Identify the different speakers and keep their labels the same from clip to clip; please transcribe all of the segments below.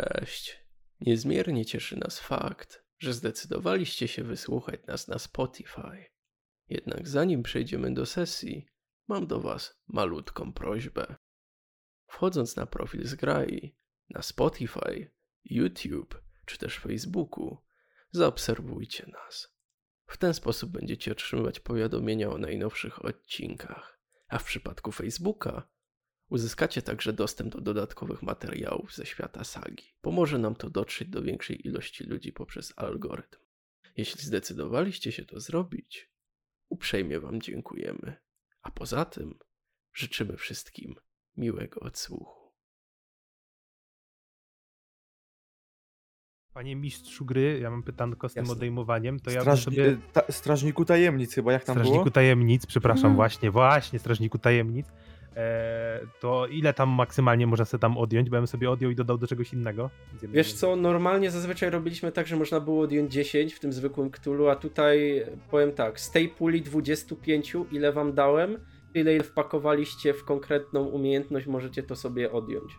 Speaker 1: Cześć. Niezmiernie cieszy nas fakt, że zdecydowaliście się wysłuchać nas na Spotify. Jednak zanim przejdziemy do sesji, mam do Was malutką prośbę. Wchodząc na profil Zgrai na Spotify, YouTube czy też Facebooku, zaobserwujcie nas. W ten sposób będziecie otrzymywać powiadomienia o najnowszych odcinkach, a w przypadku Facebooka Uzyskacie także dostęp do dodatkowych materiałów ze świata sagi. Pomoże nam to dotrzeć do większej ilości ludzi poprzez algorytm. Jeśli zdecydowaliście się to zrobić, uprzejmie Wam dziękujemy. A poza tym życzymy wszystkim miłego odsłuchu.
Speaker 2: Panie mistrzu gry, ja mam pytanko z tym
Speaker 3: Jasne.
Speaker 2: odejmowaniem, to ja bym
Speaker 3: Strażni-
Speaker 2: sobie...
Speaker 3: y, ta, strażniku tajemnic chyba, jak tam
Speaker 2: strażniku
Speaker 3: było?
Speaker 2: tajemnic, przepraszam,
Speaker 4: Mhm.
Speaker 2: właśnie, właśnie, strażniku tajemnic. E, to ile tam maksymalnie można sobie tam odjąć, bo ja bym sobie odjął i dodał do czegoś innego. Z jednej
Speaker 5: Wiesz
Speaker 2: ręki.
Speaker 5: co, normalnie zazwyczaj robiliśmy tak, że można było odjąć 10 w tym zwykłym Cthulhu, a tutaj powiem tak, z tej puli 25, ile wam dałem, tyle ile wpakowaliście w konkretną umiejętność, możecie to sobie odjąć.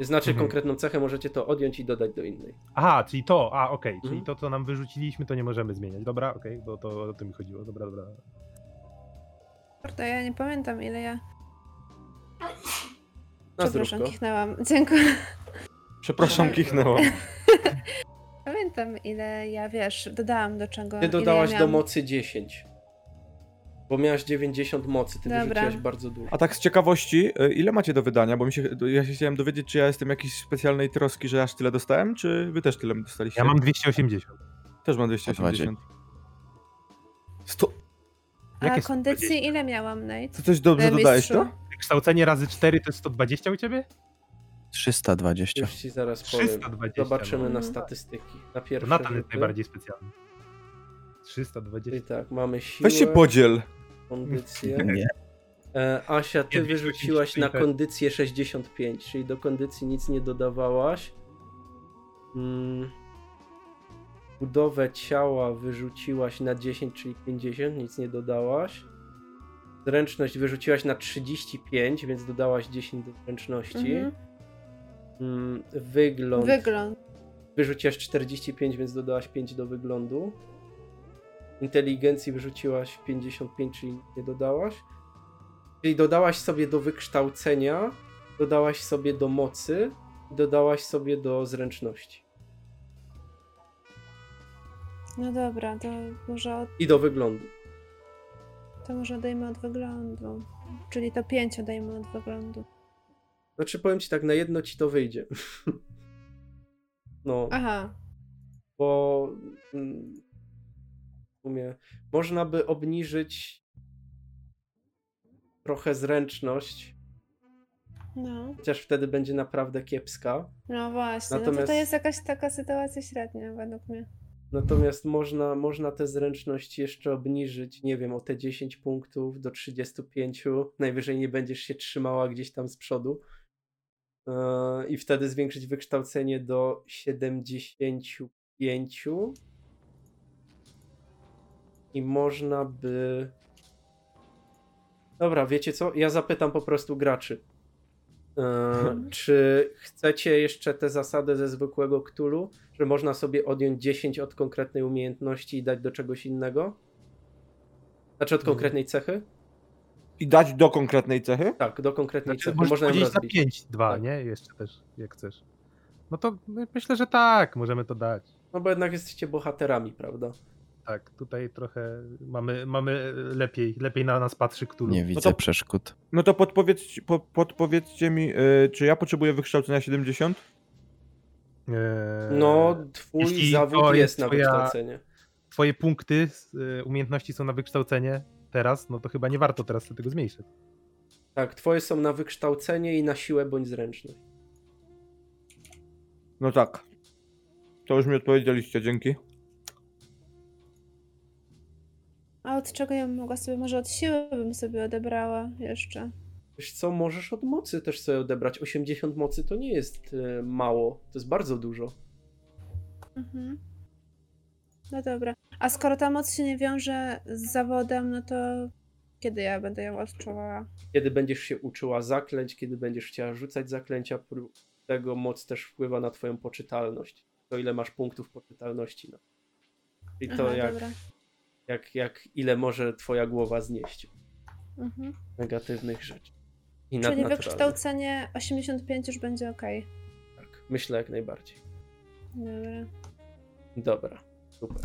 Speaker 5: Znaczy
Speaker 2: Mhm.
Speaker 5: konkretną cechę możecie to odjąć i dodać do innej.
Speaker 2: Aha, czyli to, a okej, czyli
Speaker 5: Mhm.
Speaker 2: to co nam wyrzuciliśmy, to nie możemy zmieniać. Dobra, okej, bo to o to mi chodziło, dobra, dobra.
Speaker 4: Kurde, ja nie pamiętam ile ja.
Speaker 5: Na
Speaker 4: Przepraszam,
Speaker 5: zdrówko.
Speaker 4: kichnęłam. Dziękuję.
Speaker 3: Przepraszam, kichnęło.
Speaker 4: Pamiętam ile ja wiesz, dodałam do czego.
Speaker 5: Ty
Speaker 4: ile
Speaker 5: dodałaś
Speaker 4: ja
Speaker 5: do
Speaker 4: miałam.
Speaker 5: mocy 10. Bo miałaś 90 mocy, ty
Speaker 4: Dobra.
Speaker 5: wyrzuciłaś bardzo dużo.
Speaker 3: A tak z ciekawości, y, ile macie do wydania? Bo mi się, do- ja się chciałem dowiedzieć, czy ja jestem jakiejś specjalnej troski, że aż tyle dostałem, czy wy też tyle dostaliście?
Speaker 2: Ja mam 280.
Speaker 3: Też mam 280. Sto...
Speaker 4: A
Speaker 2: Jakie są
Speaker 4: kondycji ile miałam, Nate?
Speaker 3: Ty coś dobrze no?
Speaker 4: E,
Speaker 3: dodajesz,
Speaker 4: mistrzu?
Speaker 3: to?
Speaker 2: Kształcenie razy 4 to jest 120 u ciebie?
Speaker 6: 320.
Speaker 5: Już ci zaraz powiem.
Speaker 2: 320.
Speaker 5: Zobaczymy na
Speaker 4: Mhm.
Speaker 5: statystyki. Na
Speaker 2: no. To
Speaker 5: pierwsze
Speaker 2: Natan jest
Speaker 5: rzuty.
Speaker 2: najbardziej specjalny.
Speaker 5: Czyli
Speaker 2: 320.
Speaker 5: tak, mamy siłę,
Speaker 3: Weź się podziel.
Speaker 5: kondycję.
Speaker 6: Nie.
Speaker 5: E, Asia, ty
Speaker 2: Nie,
Speaker 5: wyrzuciłaś na
Speaker 2: 285.
Speaker 5: kondycję 65, czyli do kondycji nic nie dodawałaś. Mm. Budowę ciała wyrzuciłaś na 10, czyli 50, nic nie dodałaś. Zręczność wyrzuciłaś na 35, więc dodałaś 10 do zręczności.
Speaker 4: Mhm.
Speaker 5: Mm, Wygląd.
Speaker 4: Wygląd.
Speaker 5: Wyrzuciłaś 45, więc dodałaś 5 do wyglądu. Inteligencji wyrzuciłaś 55, czyli nie dodałaś. Czyli dodałaś sobie do wykształcenia, dodałaś sobie do mocy, dodałaś sobie do zręczności.
Speaker 4: No dobra, to może, od,
Speaker 5: I do wyglądu.
Speaker 4: to może odejmę od wyglądu. Czyli to pięć odejmę od wyglądu.
Speaker 5: Znaczy powiem ci tak, na jedno ci to wyjdzie. No,
Speaker 4: Aha,
Speaker 5: bo mm, w sumie można by obniżyć trochę zręczność,
Speaker 4: no.
Speaker 5: chociaż wtedy będzie naprawdę kiepska.
Speaker 4: No właśnie, no to,
Speaker 5: Natomiast-
Speaker 4: to jest jakaś taka sytuacja średnia według mnie.
Speaker 5: Natomiast można, można tę zręczność jeszcze obniżyć, nie wiem, o te 10 punktów do 35. Najwyżej nie będziesz się trzymała gdzieś tam z przodu. Yy, I wtedy zwiększyć wykształcenie do 75. I można by. Dobra, wiecie co? Ja zapytam po prostu graczy. Yy, czy chcecie jeszcze tę zasadę ze zwykłego Ktulu, że można sobie odjąć 10 od konkretnej umiejętności i dać do czegoś innego? Znaczy od
Speaker 2: Mhm.
Speaker 5: konkretnej cechy?
Speaker 3: I dać do konkretnej cechy?
Speaker 5: Tak, do konkretnej
Speaker 2: Znaczy,
Speaker 5: cechy.
Speaker 2: możesz
Speaker 5: Można ją
Speaker 2: podzielić na
Speaker 5: rozbić.
Speaker 2: 5, 2,
Speaker 5: Tak.
Speaker 2: nie? Jeszcze też, jak chcesz. No to my- myślę, że tak, możemy to dać.
Speaker 5: No bo jednak jesteście bohaterami, prawda?
Speaker 2: Tak, tutaj trochę mamy, mamy lepiej, lepiej na nas patrzy Cthulhu.
Speaker 6: Nie widzę
Speaker 3: to-
Speaker 6: przeszkód.
Speaker 3: No to podpowiedz, po, podpowiedzcie mi, y, czy ja potrzebuję wykształcenia 70?
Speaker 2: Eee,
Speaker 5: No, twój
Speaker 2: jeśli to
Speaker 5: zawód
Speaker 2: jest
Speaker 5: jest na
Speaker 2: twoja-
Speaker 5: wykształcenie.
Speaker 2: Twoje punkty, y, umiejętności są na wykształcenie teraz, no to chyba nie warto teraz tego zmniejszyć.
Speaker 5: Tak, twoje są na wykształcenie i na siłę bądź zręczność.
Speaker 3: No tak. To już mi odpowiedzieliście, dzięki.
Speaker 4: A od czego ja bym mogła sobie, może od siły bym sobie odebrała jeszcze.
Speaker 5: Wiesz co, możesz od mocy też sobie odebrać. 80 mocy to nie jest e, mało, to jest bardzo dużo.
Speaker 4: Mhm. No dobra. A skoro ta moc się nie wiąże z zawodem, no to kiedy ja będę ją odczuwała?
Speaker 5: Kiedy będziesz się uczyła zaklęć, kiedy będziesz chciała rzucać zaklęcia, pró- tego moc też wpływa na twoją poczytalność. To ile masz punktów poczytalności. No. I to
Speaker 4: Aha,
Speaker 5: jak,
Speaker 4: dobra.
Speaker 5: jak, jak ile może twoja głowa znieść
Speaker 4: Mhm.
Speaker 5: negatywnych rzeczy. I
Speaker 4: Czyli
Speaker 5: nadnaturalnych.
Speaker 4: wykształcenie 85 już będzie ok.
Speaker 5: Tak, myślę jak najbardziej.
Speaker 4: Dobra.
Speaker 5: Dobra, super.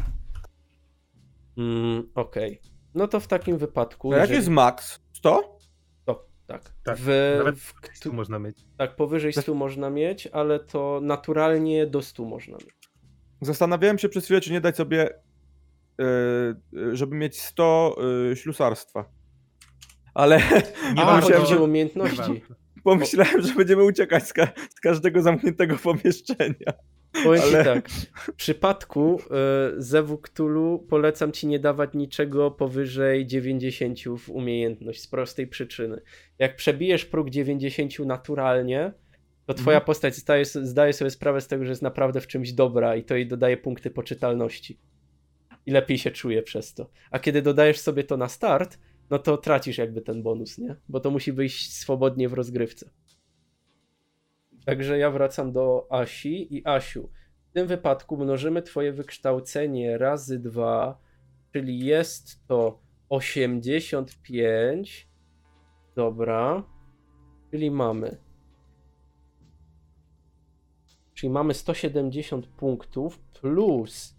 Speaker 5: Mm, Okej. No to w takim wypadku.
Speaker 3: A jak
Speaker 5: jeżeli-
Speaker 3: jest max? 100?
Speaker 5: To, tak.
Speaker 2: Tak,
Speaker 5: W,
Speaker 2: nawet
Speaker 5: w,
Speaker 2: Tu można mieć.
Speaker 5: tak, powyżej 100 można mieć, ale to naturalnie do 100 można mieć.
Speaker 3: Zastanawiałem się przez chwilę, czy nie dać sobie, e, e, żeby mieć 100 e, ślusarstwa. Ale
Speaker 2: Nie
Speaker 5: A,
Speaker 2: warto.
Speaker 5: chodzi o umiejętności.
Speaker 2: warto.
Speaker 3: pomyślałem, że będziemy uciekać z, ka- z każdego zamkniętego pomieszczenia.
Speaker 5: Powiem ci
Speaker 3: Ale-
Speaker 5: tak. W przypadku y, Zewu Cthulhu polecam ci nie dawać niczego powyżej 90 w umiejętność z prostej przyczyny. Jak przebijesz próg 90 naturalnie, to twoja postać zdaje, zdaje sobie sprawę z tego, że jest naprawdę w czymś dobra i to jej dodaje punkty poczytalności. I lepiej się czuje przez to. A kiedy dodajesz sobie to na start, no to tracisz jakby ten bonus, nie? Bo to musi wyjść swobodnie w rozgrywce. Także ja wracam do Asi i Asiu. W tym wypadku mnożymy twoje wykształcenie razy 2, czyli jest to 85. Dobra. Czyli mamy. Czyli mamy 170 punktów plus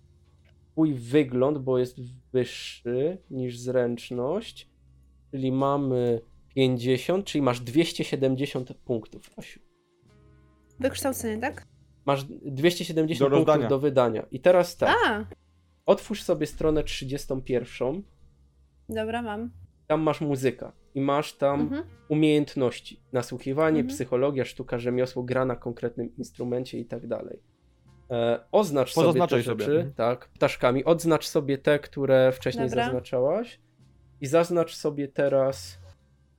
Speaker 5: twój wygląd, bo jest wyższy niż zręczność. Czyli mamy 50, czyli masz 270 punktów, Asiu.
Speaker 4: Wykształcenie, tak?
Speaker 5: Masz 270
Speaker 3: Do
Speaker 5: punktów
Speaker 3: rozdania.
Speaker 5: do wydania. I teraz tak.
Speaker 4: A,
Speaker 5: Otwórz sobie stronę 31.
Speaker 4: dobra, mam.
Speaker 5: Tam masz muzyka i masz tam
Speaker 4: Mhm.
Speaker 5: umiejętności. Nasłuchiwanie,
Speaker 4: Mhm.
Speaker 5: psychologia, sztuka, rzemiosło, gra na konkretnym instrumencie i tak dalej. E, oznacz sobie te
Speaker 3: Pozaznaczaj sobie.
Speaker 5: rzeczy,
Speaker 3: Mhm.
Speaker 5: tak, ptaszkami. Odznacz sobie te, które wcześniej
Speaker 4: Dobra.
Speaker 5: zaznaczałaś i zaznacz sobie teraz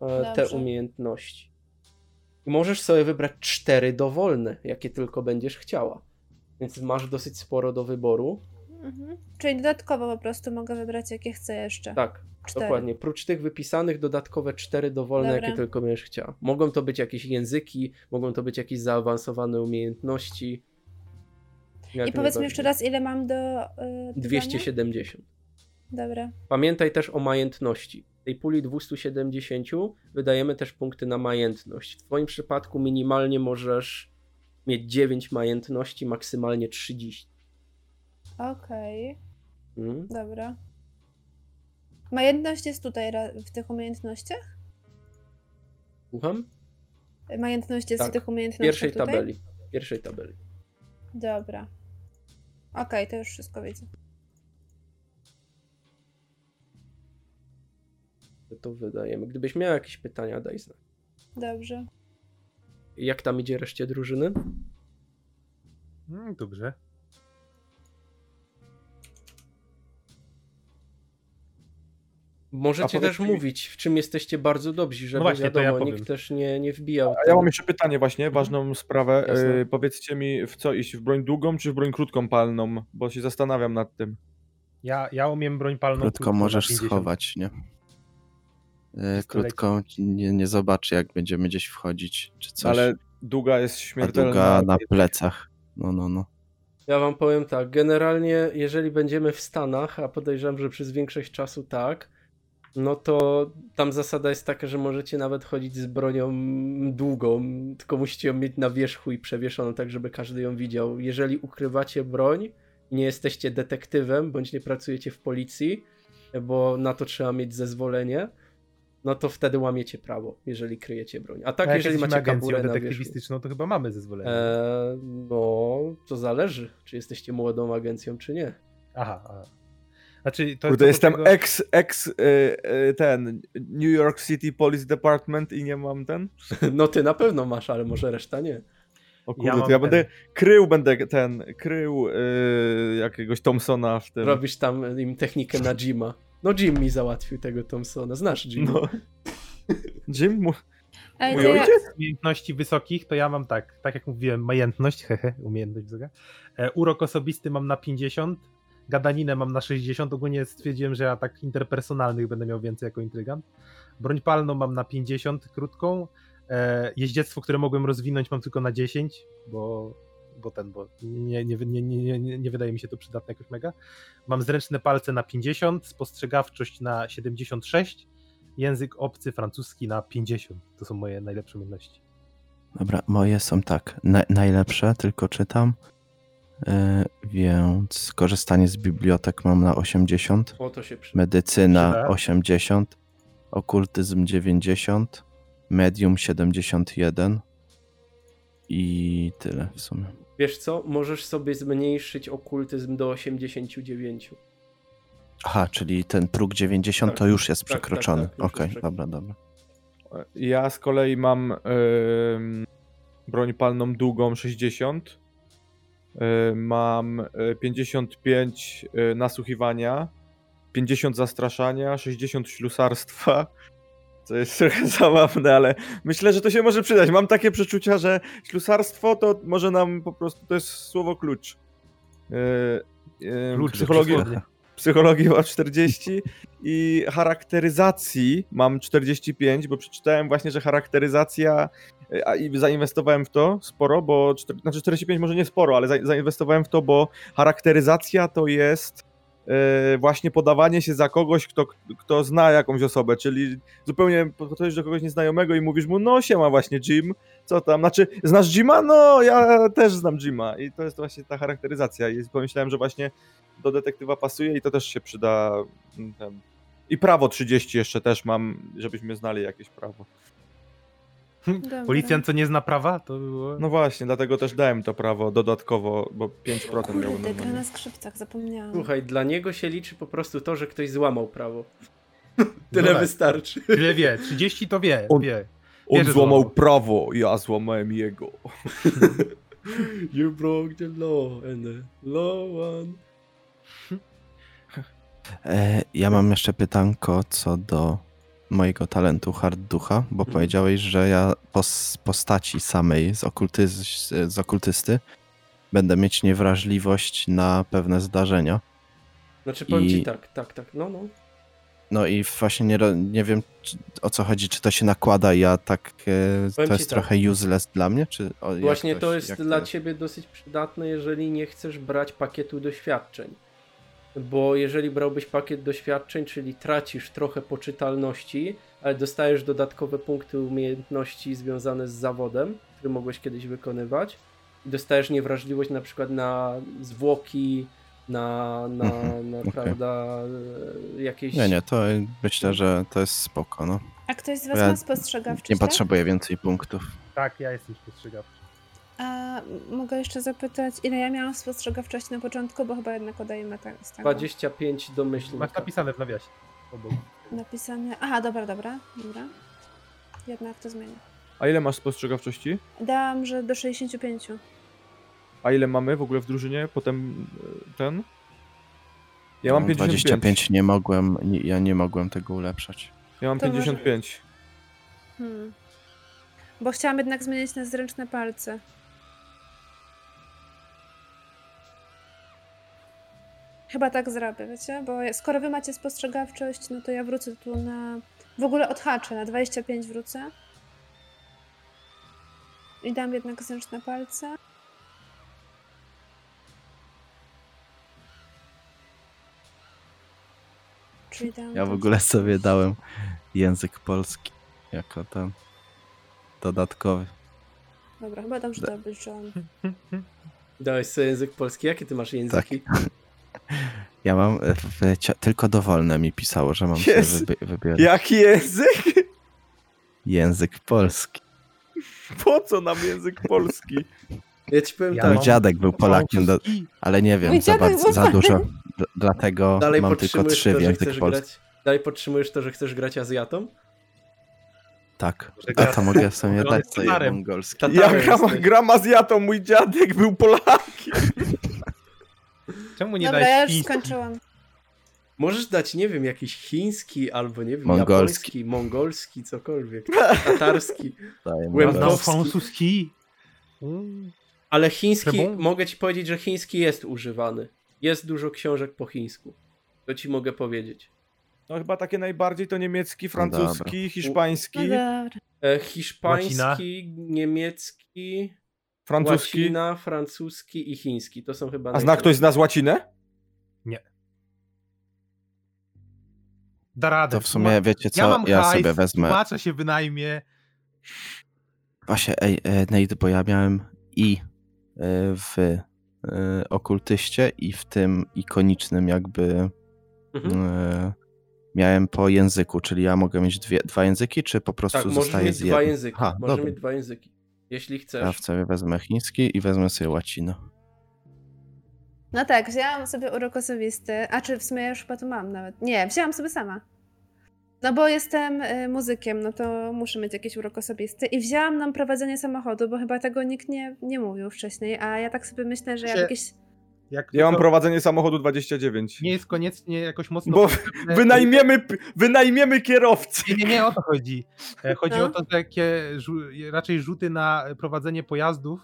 Speaker 5: e, te
Speaker 4: Dobrze.
Speaker 5: umiejętności. I możesz sobie wybrać cztery dowolne, jakie tylko będziesz chciała. Więc masz dosyć sporo do wyboru.
Speaker 4: Mhm. Czyli dodatkowo po prostu mogę wybrać, jakie chcę jeszcze.
Speaker 5: Tak,
Speaker 4: Cztery.
Speaker 5: dokładnie. Prócz tych wypisanych, dodatkowe cztery dowolne,
Speaker 4: Dobra.
Speaker 5: jakie tylko będziesz chciała. Mogą to być jakieś języki, mogą to być jakieś zaawansowane umiejętności. Jak
Speaker 4: I powiedz mi
Speaker 5: najbardziej.
Speaker 4: jeszcze raz, ile mam do. y, dodania?
Speaker 5: 270.
Speaker 4: Dobra.
Speaker 5: Pamiętaj też o majętności. W tej puli 270 wydajemy też punkty na majętność. W Twoim przypadku minimalnie możesz mieć 9 majętności, maksymalnie 30.
Speaker 4: Okej,
Speaker 5: Mm?
Speaker 4: dobra. Majętność jest tutaj ra- w tych umiejętnościach?
Speaker 5: Słucham?
Speaker 4: Majętność jest
Speaker 5: Tak.
Speaker 4: w tych
Speaker 5: W
Speaker 4: umiejętnościach.
Speaker 5: pierwszej
Speaker 4: tutaj?
Speaker 5: tabeli. W pierwszej tabeli.
Speaker 4: Dobra. Okej, to już wszystko widzę.
Speaker 5: To wydajemy. Gdybyś miał jakieś pytania, daj znać.
Speaker 4: Dobrze.
Speaker 5: Jak tam idzie reszcie drużyny?
Speaker 2: Mm, Dobrze.
Speaker 3: A
Speaker 5: Możecie
Speaker 3: powiedz
Speaker 5: też
Speaker 3: mi-
Speaker 5: mówić, w czym jesteście bardzo dobrzy, żeby
Speaker 2: No właśnie, to
Speaker 5: wiadomo,
Speaker 2: ja powiem.
Speaker 5: nikt też nie, nie wbijał.
Speaker 3: A ja mam jeszcze pytanie właśnie, ważną sprawę.
Speaker 5: Jasne.
Speaker 3: E, powiedzcie mi, w co iść, w broń długą czy w broń krótką palną, bo się zastanawiam nad tym.
Speaker 2: Ja, ja umiem broń palną.
Speaker 1: No, Krótko
Speaker 2: na
Speaker 1: możesz
Speaker 2: 50.
Speaker 1: schować, nie? E,
Speaker 2: Pistolecie.
Speaker 1: Krótko ci nie, nie zobaczy, jak będziemy gdzieś wchodzić, czy coś.
Speaker 3: Ale no, długa jest
Speaker 1: A
Speaker 3: śmiertelna.
Speaker 1: długa na plecach. No, no, no.
Speaker 5: Ja wam powiem tak, generalnie jeżeli będziemy w Stanach, a podejrzewam, że przez większość czasu tak, no to tam zasada jest taka, że możecie nawet chodzić z bronią długą, tylko musicie ją mieć na wierzchu i przewieszoną tak, żeby każdy ją widział. Jeżeli ukrywacie broń i nie jesteście detektywem, bądź nie pracujecie w policji, bo na to trzeba mieć zezwolenie, no to wtedy łamiecie prawo, jeżeli kryjecie broń. A
Speaker 2: A
Speaker 5: tak,
Speaker 2: jak
Speaker 5: jeżeli
Speaker 2: jesteśmy
Speaker 5: macie
Speaker 2: agencją
Speaker 5: kaburę na wierzchu.
Speaker 2: detektywistyczną, to chyba mamy zezwolenie.
Speaker 5: E, no, to zależy, czy jesteście młodą agencją, czy nie.
Speaker 2: Aha, aha. Znaczy, to co
Speaker 3: Kurde,
Speaker 2: do
Speaker 3: jestem
Speaker 2: tego-
Speaker 3: ex, ex y, y, ten New York City Police Department i nie mam ten?
Speaker 5: No ty na pewno masz, ale może reszta nie.
Speaker 3: O
Speaker 2: Ja
Speaker 3: kurde,
Speaker 2: mam
Speaker 3: to ja będę
Speaker 2: ten.
Speaker 3: krył, będę ten, krył y, jakiegoś Thompsona w tym.
Speaker 5: Robisz tam im technikę na Jima. No Jim mi załatwił tego Thompsona, znasz Jima.
Speaker 3: No. Jim, mu-
Speaker 4: Ej,
Speaker 3: mój
Speaker 4: to ja...
Speaker 3: ojciec?
Speaker 2: umiejętności wysokich, to ja mam tak, tak jak mówiłem, majętność, hehe, umiejętność wysoka. E, urok osobisty mam na 50, gadaninę mam na 60, ogólnie stwierdziłem, że ja tak interpersonalnych będę miał więcej jako intrygant. Broń palną mam na 50, krótką, E, jeździectwo, które mogłem rozwinąć, mam tylko na 10, bo, bo ten, bo nie, nie, nie, nie, nie, nie wydaje mi się to przydatne jakoś mega. Mam zręczne palce na 50, spostrzegawczość na 76, język obcy francuski na 50. To są moje najlepsze umiejętności.
Speaker 7: Dobra, moje są tak. Na, najlepsze, tylko czytam. E, więc korzystanie z bibliotek mam na 80,
Speaker 5: Po to się przyda.
Speaker 7: medycyna
Speaker 2: Przyda.
Speaker 7: 80, okultyzm 90, medium 71 i tyle w sumie.
Speaker 5: Wiesz co? Możesz sobie zmniejszyć okultyzm do 89.
Speaker 7: Aha, czyli ten próg 90 to
Speaker 5: Tak,
Speaker 7: już jest
Speaker 5: tak, tak,
Speaker 7: przekroczony.
Speaker 5: tak, już jest
Speaker 7: Okej,
Speaker 5: przekroczony.
Speaker 7: dobra, dobra.
Speaker 3: Ja z kolei mam em, broń palną długą 60. em, mam e, 55 e, nasłuchiwania, 50 zastraszania, 60 ślusarstwa. Co jest trochę zabawne, ale myślę, że to się może przydać. Mam takie przeczucia, że ślusarstwo to może nam po prostu to jest słowo klucz. E, e,
Speaker 2: Klucz,
Speaker 3: psychologia,
Speaker 2: dosłownie.
Speaker 3: psychologii mam 40 i charakteryzacji mam 45, bo przeczytałem właśnie, że charakteryzacja y, a i zainwestowałem w to sporo, bo czter- znaczy 45 może nie sporo, ale za, zainwestowałem w to, bo charakteryzacja to jest y, właśnie podawanie się za kogoś, kto, kto zna jakąś osobę, czyli zupełnie podchodzisz do kogoś nieznajomego i mówisz mu, no siema właśnie Jim, co tam, znaczy znasz Jima? No ja też znam Jima i to jest właśnie ta charakteryzacja i pomyślałem, że właśnie do detektywa pasuje i to też się przyda. mm, Ten. I prawo 30 jeszcze też mam, żebyśmy znali jakieś prawo.
Speaker 4: Dobra.
Speaker 2: Policjant, co nie zna prawa, to było...
Speaker 3: No właśnie, dlatego też dałem to prawo dodatkowo, bo 5% miał
Speaker 4: Kurde, gra
Speaker 3: normalnie.
Speaker 4: na skrzypcach, zapomniałam.
Speaker 5: Słuchaj, dla niego się liczy po prostu to, że ktoś złamał prawo. Tyle
Speaker 2: tak.
Speaker 5: wystarczy.
Speaker 2: Tyle wie, 30 to wie,
Speaker 3: On-
Speaker 2: wie.
Speaker 3: On
Speaker 2: Wierzę
Speaker 3: złamał
Speaker 2: znowu.
Speaker 3: prawo, ja złamałem jego.
Speaker 5: You broke the law and the law one.
Speaker 7: E, ja mam jeszcze pytanko co do mojego talentu hard ducha, bo
Speaker 5: Mhm.
Speaker 7: powiedziałeś, że ja po z postaci samej z, okultyz, z okultysty będę mieć niewrażliwość na pewne zdarzenia.
Speaker 5: Znaczy powiem ci
Speaker 7: I-
Speaker 5: tak, tak, tak, no, no.
Speaker 7: No i właśnie nie, ro- nie wiem czy, o co chodzi, czy to się nakłada, ja tak, e, to
Speaker 5: ci
Speaker 7: jest
Speaker 5: tak.
Speaker 7: trochę useless dla mnie, czy o, jak
Speaker 5: Właśnie to
Speaker 7: się-
Speaker 5: jest
Speaker 7: jak
Speaker 5: dla ciebie dosyć przydatne, jeżeli nie chcesz brać pakietu doświadczeń. Bo jeżeli brałbyś pakiet doświadczeń, czyli tracisz trochę poczytalności, ale dostajesz dodatkowe punkty umiejętności związane z zawodem, który mogłeś kiedyś wykonywać, i dostajesz niewrażliwość na przykład na zwłoki, na, na,
Speaker 7: Mhm,
Speaker 5: na
Speaker 7: okej.
Speaker 5: prawda, e, jakieś...
Speaker 7: Nie, nie, to e, myślę, że to jest spoko, no.
Speaker 4: A ktoś z was
Speaker 7: Ja
Speaker 4: ma spostrzegawczość,
Speaker 7: Nie
Speaker 4: tak?
Speaker 7: potrzebuję więcej punktów.
Speaker 2: Tak, ja jestem spostrzegawczy.
Speaker 4: tak? A m- mogę jeszcze zapytać, ile ja miałam spostrzegawczość na początku, bo chyba jednak odejmę tak z tego.
Speaker 5: 25 domyślnika.
Speaker 2: Masz napisane w nawiasie.
Speaker 3: tak.
Speaker 2: Obok.
Speaker 4: Napisane... Aha, dobra, dobra, dobra. Jednak to zmienię.
Speaker 3: A ile masz spostrzegawczości?
Speaker 4: Dałam, że do 65.
Speaker 3: A ile mamy w ogóle w drużynie? Potem e, ten? Ja mam
Speaker 7: No,
Speaker 3: 55.
Speaker 7: 25 nie mogłem, nie, ja nie mogłem tego ulepszać.
Speaker 3: Ja mam
Speaker 4: To może-
Speaker 3: 55.
Speaker 4: Hmm. Bo chciałam jednak zmienić na zręczne palce. Chyba tak zrobię, wiecie? Bo ja- skoro wy macie spostrzegawczość, no to ja wrócę tu na... W ogóle odhaczę, na 25 wrócę. I dam jednak zręczne palce. Czyli dam
Speaker 7: Ja w
Speaker 4: tam-
Speaker 7: ogóle sobie dałem język polski jako ten dodatkowy.
Speaker 4: Dobra, chyba dobrze to obliczyłam.
Speaker 5: Dałeś sobie język polski. Jakie ty masz języki?
Speaker 7: Tak. Ja mam e, w, cia- tylko dowolne mi pisało, że mam sobie
Speaker 3: Jezu.
Speaker 7: wybi- wybierać
Speaker 3: Jaki język?
Speaker 7: język polski.
Speaker 3: Po co nam język polski?
Speaker 5: Ja ci powiem
Speaker 2: Ja
Speaker 5: tak.
Speaker 7: Mój dziadek był Polakiem, do, ale nie
Speaker 4: Mój
Speaker 7: wiem za,
Speaker 4: dziadek
Speaker 7: bardzo,
Speaker 4: był
Speaker 7: za dużo, d- dlatego
Speaker 5: Dalej
Speaker 7: mam tylko
Speaker 5: podtrzymujesz
Speaker 7: trzy
Speaker 5: to,
Speaker 7: w
Speaker 5: że
Speaker 7: język
Speaker 5: chcesz
Speaker 7: polski.
Speaker 5: grać. Dalej podtrzymujesz to, że chcesz grać Azjatom?
Speaker 7: Tak,
Speaker 2: Może
Speaker 7: a
Speaker 2: gra-
Speaker 7: to mogę sobie
Speaker 2: on
Speaker 7: dać
Speaker 2: jest
Speaker 7: sobie
Speaker 2: starym.
Speaker 7: mongolski. Tak,
Speaker 5: Tatarem
Speaker 3: Ja gram,
Speaker 5: jesteś.
Speaker 3: gram Azjatą, mój dziadek był Polakiem.
Speaker 2: Czemu nie
Speaker 4: Dobra,
Speaker 2: dajesz
Speaker 4: ja już
Speaker 2: chiński?
Speaker 4: skończyłam.
Speaker 5: Możesz dać, nie wiem, jakiś chiński albo nie wiem,
Speaker 7: Mongolski.
Speaker 5: japoński, mongolski, cokolwiek. Tatarski.
Speaker 7: Daję mu
Speaker 5: Byłem
Speaker 7: raz.
Speaker 5: na-
Speaker 2: Znam
Speaker 5: Polski.
Speaker 2: francuski. Mm.
Speaker 5: Ale chiński,
Speaker 2: Trebon?
Speaker 5: mogę ci powiedzieć, że chiński jest używany. Jest dużo książek po chińsku. To ci mogę powiedzieć.
Speaker 3: No chyba takie najbardziej to niemiecki, francuski, hiszpański,
Speaker 4: No
Speaker 2: tak.
Speaker 4: dobra.
Speaker 1: E, hiszpański,
Speaker 2: Łacina.
Speaker 1: niemiecki,
Speaker 3: francuski.
Speaker 1: łacina, francuski i chiński. To są chyba
Speaker 3: A zna ktoś z
Speaker 1: najtrudniejsze.
Speaker 3: nas łacinę?
Speaker 2: Da radę.
Speaker 7: To w sumie wiecie co, ja, sobie wezmę.
Speaker 2: Płacę się wynajmie.
Speaker 7: Właśnie, ej, e, Nate, bo ja miałem i e, w e, okultyście i w tym ikonicznym jakby
Speaker 1: Mhm.
Speaker 7: e, miałem po języku, czyli ja mogę mieć dwie, dwa języki, czy po prostu
Speaker 1: Tak, możesz
Speaker 7: zostaje
Speaker 1: mieć
Speaker 7: z
Speaker 1: dwa
Speaker 7: jednym?
Speaker 1: języki.
Speaker 7: Aha,
Speaker 1: możesz
Speaker 7: dobra.
Speaker 1: mieć dwa języki. Jeśli chcesz.
Speaker 7: Ja w sobie wezmę chiński i wezmę sobie łacinę.
Speaker 4: No tak, wzięłam sobie urok osobisty, a czy w sumie ja już chyba to mam nawet. Nie, wzięłam sobie sama. No bo jestem y, muzykiem, no to muszę mieć jakiś urok osobisty. I wzięłam nam prowadzenie samochodu, bo chyba tego nikt nie, nie mówił wcześniej, a ja tak sobie myślę, że ja
Speaker 2: Się-
Speaker 4: jakieś...
Speaker 2: Jak
Speaker 3: Ja mam
Speaker 2: tylko
Speaker 3: prowadzenie samochodu 29.
Speaker 2: Nie jest koniecznie jakoś mocno...
Speaker 3: Bo
Speaker 2: potrzebne-
Speaker 3: Wynajmiemy, p- wynajmiemy kierowcę.
Speaker 2: Nie, nie, nie o to chodzi. E, Chodzi
Speaker 4: No.
Speaker 2: o to, że jakie żu- raczej rzuty na prowadzenie pojazdów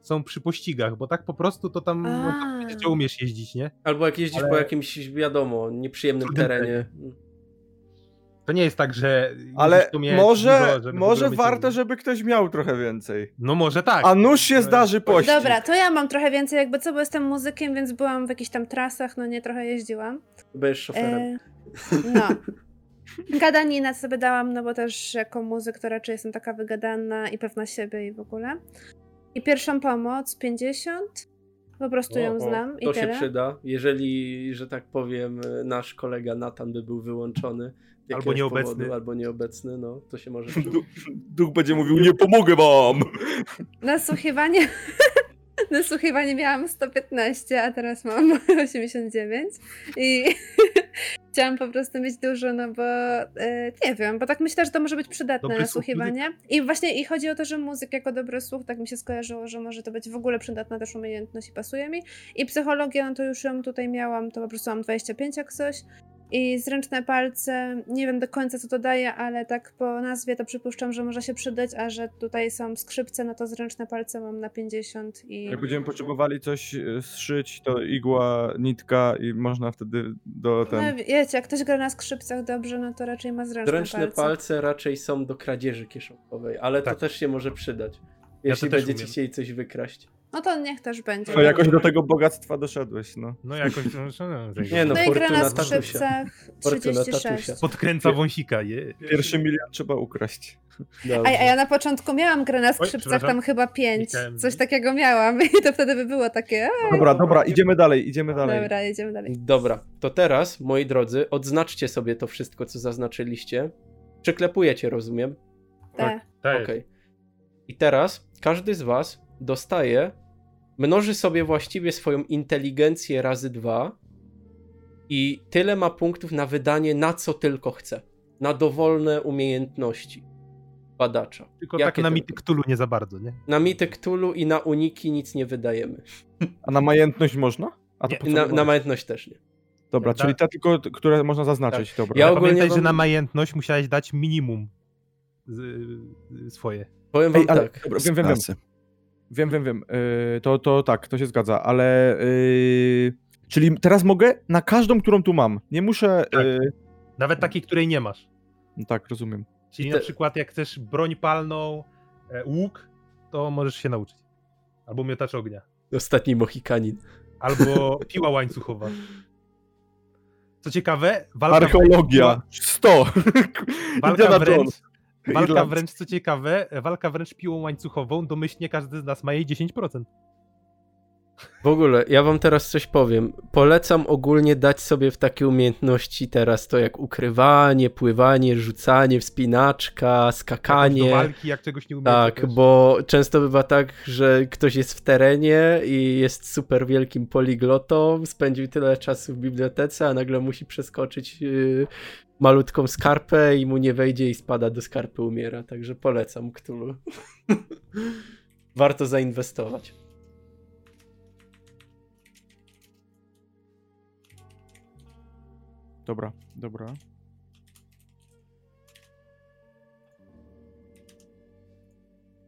Speaker 2: są przy pościgach, bo tak po prostu to tam no,
Speaker 4: A.
Speaker 2: tam gdzie umiesz jeździć, nie?
Speaker 1: Albo jak jeździsz
Speaker 2: Ale-
Speaker 1: po jakimś, wiadomo, nieprzyjemnym
Speaker 2: Trudnym
Speaker 1: terenie.
Speaker 2: To nie jest tak, że...
Speaker 3: Ale
Speaker 2: musisz tu mieć
Speaker 3: może,
Speaker 2: dużo, żeby w
Speaker 3: może
Speaker 2: ogóle mieć
Speaker 3: warto,
Speaker 2: język.
Speaker 3: żeby ktoś miał trochę więcej.
Speaker 2: No może tak.
Speaker 3: A nuż się zdarzy pościg.
Speaker 4: Dobra, to ja mam trochę więcej jakby co, bo jestem muzykiem, więc byłam w jakichś tam trasach, no nie, trochę jeździłam.
Speaker 1: Będziesz szoferem.
Speaker 4: E, no. Gadanina sobie dałam, no bo też jako muzyk to raczej jestem taka wygadana i pewna siebie i w ogóle. I pierwszą pomoc 50. Po prostu ją
Speaker 1: O,
Speaker 4: znam i
Speaker 1: To się
Speaker 4: tyle.
Speaker 1: przyda. Jeżeli, że tak powiem, nasz kolega Natan by był wyłączony. z
Speaker 2: Albo
Speaker 1: jakiegoś
Speaker 2: nieobecny.
Speaker 1: Powodu, albo nieobecny, no to się może.
Speaker 3: Du- Duch będzie mówił, nie pomogę wam.
Speaker 4: Nasłuchiwanie. Nasłuchiwanie miałam 115, a teraz mam 89 i chciałam po prostu mieć dużo, no bo e, nie wiem, bo tak myślę, że to może być przydatne
Speaker 2: Dobry słuch
Speaker 4: nasłuchiwanie. I właśnie i chodzi o to, że muzyk jako dobry słuch, tak mi się skojarzyło, że może to być w ogóle przydatna też umiejętność i pasuje mi. I psychologia, no to już ją tutaj miałam, to po prostu mam 25 jak coś. I zręczne palce, nie wiem do końca co to daje, ale tak po nazwie to przypuszczam, że może się przydać, a że tutaj są skrzypce, no to zręczne palce mam na 50 i...
Speaker 3: Jak będziemy potrzebowali coś e, zszyć, to igła, nitka i można wtedy do
Speaker 4: No
Speaker 3: ten...
Speaker 4: wiecie, jak ktoś gra na skrzypcach dobrze, no to raczej ma zręczne,
Speaker 1: Dręczne palce.
Speaker 4: palce.
Speaker 1: raczej są do kradzieży kieszonkowej, ale
Speaker 2: Tak.
Speaker 1: to też się może przydać. Jeśli
Speaker 2: też
Speaker 1: będziecie
Speaker 2: umiem.
Speaker 1: chcieli coś wykraść.
Speaker 4: No to niech też będzie.
Speaker 3: To jakoś do tego bogactwa doszedłeś, no.
Speaker 2: No jakoś... No, no, no,
Speaker 1: Nie no,
Speaker 4: No i gra
Speaker 1: fortuna
Speaker 4: na
Speaker 1: tatusia.
Speaker 4: skrzypcach
Speaker 1: Fortuna
Speaker 4: 36.
Speaker 1: tatusia.
Speaker 2: Podkręca wąsika, je.
Speaker 3: Pierwszy milion trzeba ukraść.
Speaker 1: Dobrze.
Speaker 4: Ej, a ja na początku miałam grę na skrzypcach,
Speaker 2: przepraszam.
Speaker 4: tam chyba 5.
Speaker 2: Chciałem-
Speaker 4: Coś takiego miałam i to wtedy by było takie.
Speaker 3: Dobra, dobra, idziemy dalej, idziemy dalej.
Speaker 4: Dobra, jedziemy dalej.
Speaker 1: Dobra, to teraz, moi drodzy, odznaczcie sobie to wszystko, co zaznaczyliście. Przyklepujecie, rozumiem?
Speaker 4: Te.
Speaker 2: Tak.
Speaker 1: Okej. I teraz każdy z was dostaje, mnoży sobie właściwie swoją inteligencję razy dwa i tyle ma punktów na wydanie na co tylko chce. Na dowolne umiejętności badacza.
Speaker 2: Tylko
Speaker 1: Jakie
Speaker 2: tak na
Speaker 1: tylko?
Speaker 2: mity Cthulhu nie za bardzo, nie?
Speaker 1: Na mity Cthulhu i na uniki nic nie wydajemy.
Speaker 3: A na majętność można? A to
Speaker 2: Nie,
Speaker 3: po co
Speaker 1: Na,
Speaker 3: było?
Speaker 1: na majątność też nie.
Speaker 3: Dobra,
Speaker 2: Tak.
Speaker 3: czyli te tylko, t- które można zaznaczyć, dobra.
Speaker 1: Ja
Speaker 2: Ale
Speaker 1: ogólnie
Speaker 2: pamiętaj,
Speaker 1: wam-
Speaker 2: że na majętność musiałeś dać minimum z, y, swoje.
Speaker 1: Powiem wam
Speaker 3: Ej, ale
Speaker 1: tak.
Speaker 3: dobra, wiem, wiem, wiem,
Speaker 7: Klasy.
Speaker 3: wiem, wiem, wiem. Yy, to, to tak, to się zgadza, ale... Yy, czyli teraz mogę na każdą, którą tu mam. Nie muszę...
Speaker 2: Tak.
Speaker 3: Yy,
Speaker 2: Nawet takiej, której nie masz.
Speaker 3: no tak, rozumiem.
Speaker 2: Czyli
Speaker 1: I
Speaker 2: na
Speaker 1: te-
Speaker 2: przykład jak chcesz broń palną, e, łuk, to możesz się nauczyć. Albo miotacz ognia.
Speaker 1: Ostatni Mohikanin.
Speaker 2: Albo piła łańcuchowa. Co ciekawe, walka,
Speaker 3: Archeologia. 100.
Speaker 2: walka,
Speaker 3: Indiana
Speaker 2: wręcz,
Speaker 3: Jones.
Speaker 2: walka
Speaker 3: Irland.
Speaker 2: wręcz, co ciekawe, walka wręcz piłą łańcuchową, domyślnie każdy z nas ma jej 10%.
Speaker 1: W ogóle, ja wam teraz coś powiem. Polecam ogólnie dać sobie w takie umiejętności teraz to jak ukrywanie, pływanie, rzucanie, wspinaczka,
Speaker 2: Jakąś Do
Speaker 1: skakanie.
Speaker 2: walki, jak czegoś nie umiesz.
Speaker 1: Tak,
Speaker 2: też.
Speaker 1: bo często bywa tak, że ktoś jest w terenie i jest super wielkim poliglotą, spędził tyle czasu w bibliotece, a nagle musi przeskoczyć yy, malutką skarpę i mu nie wejdzie i spada do skarpy, umiera. Także polecam Ktulu. Warto zainwestować.
Speaker 3: Dobra, dobra.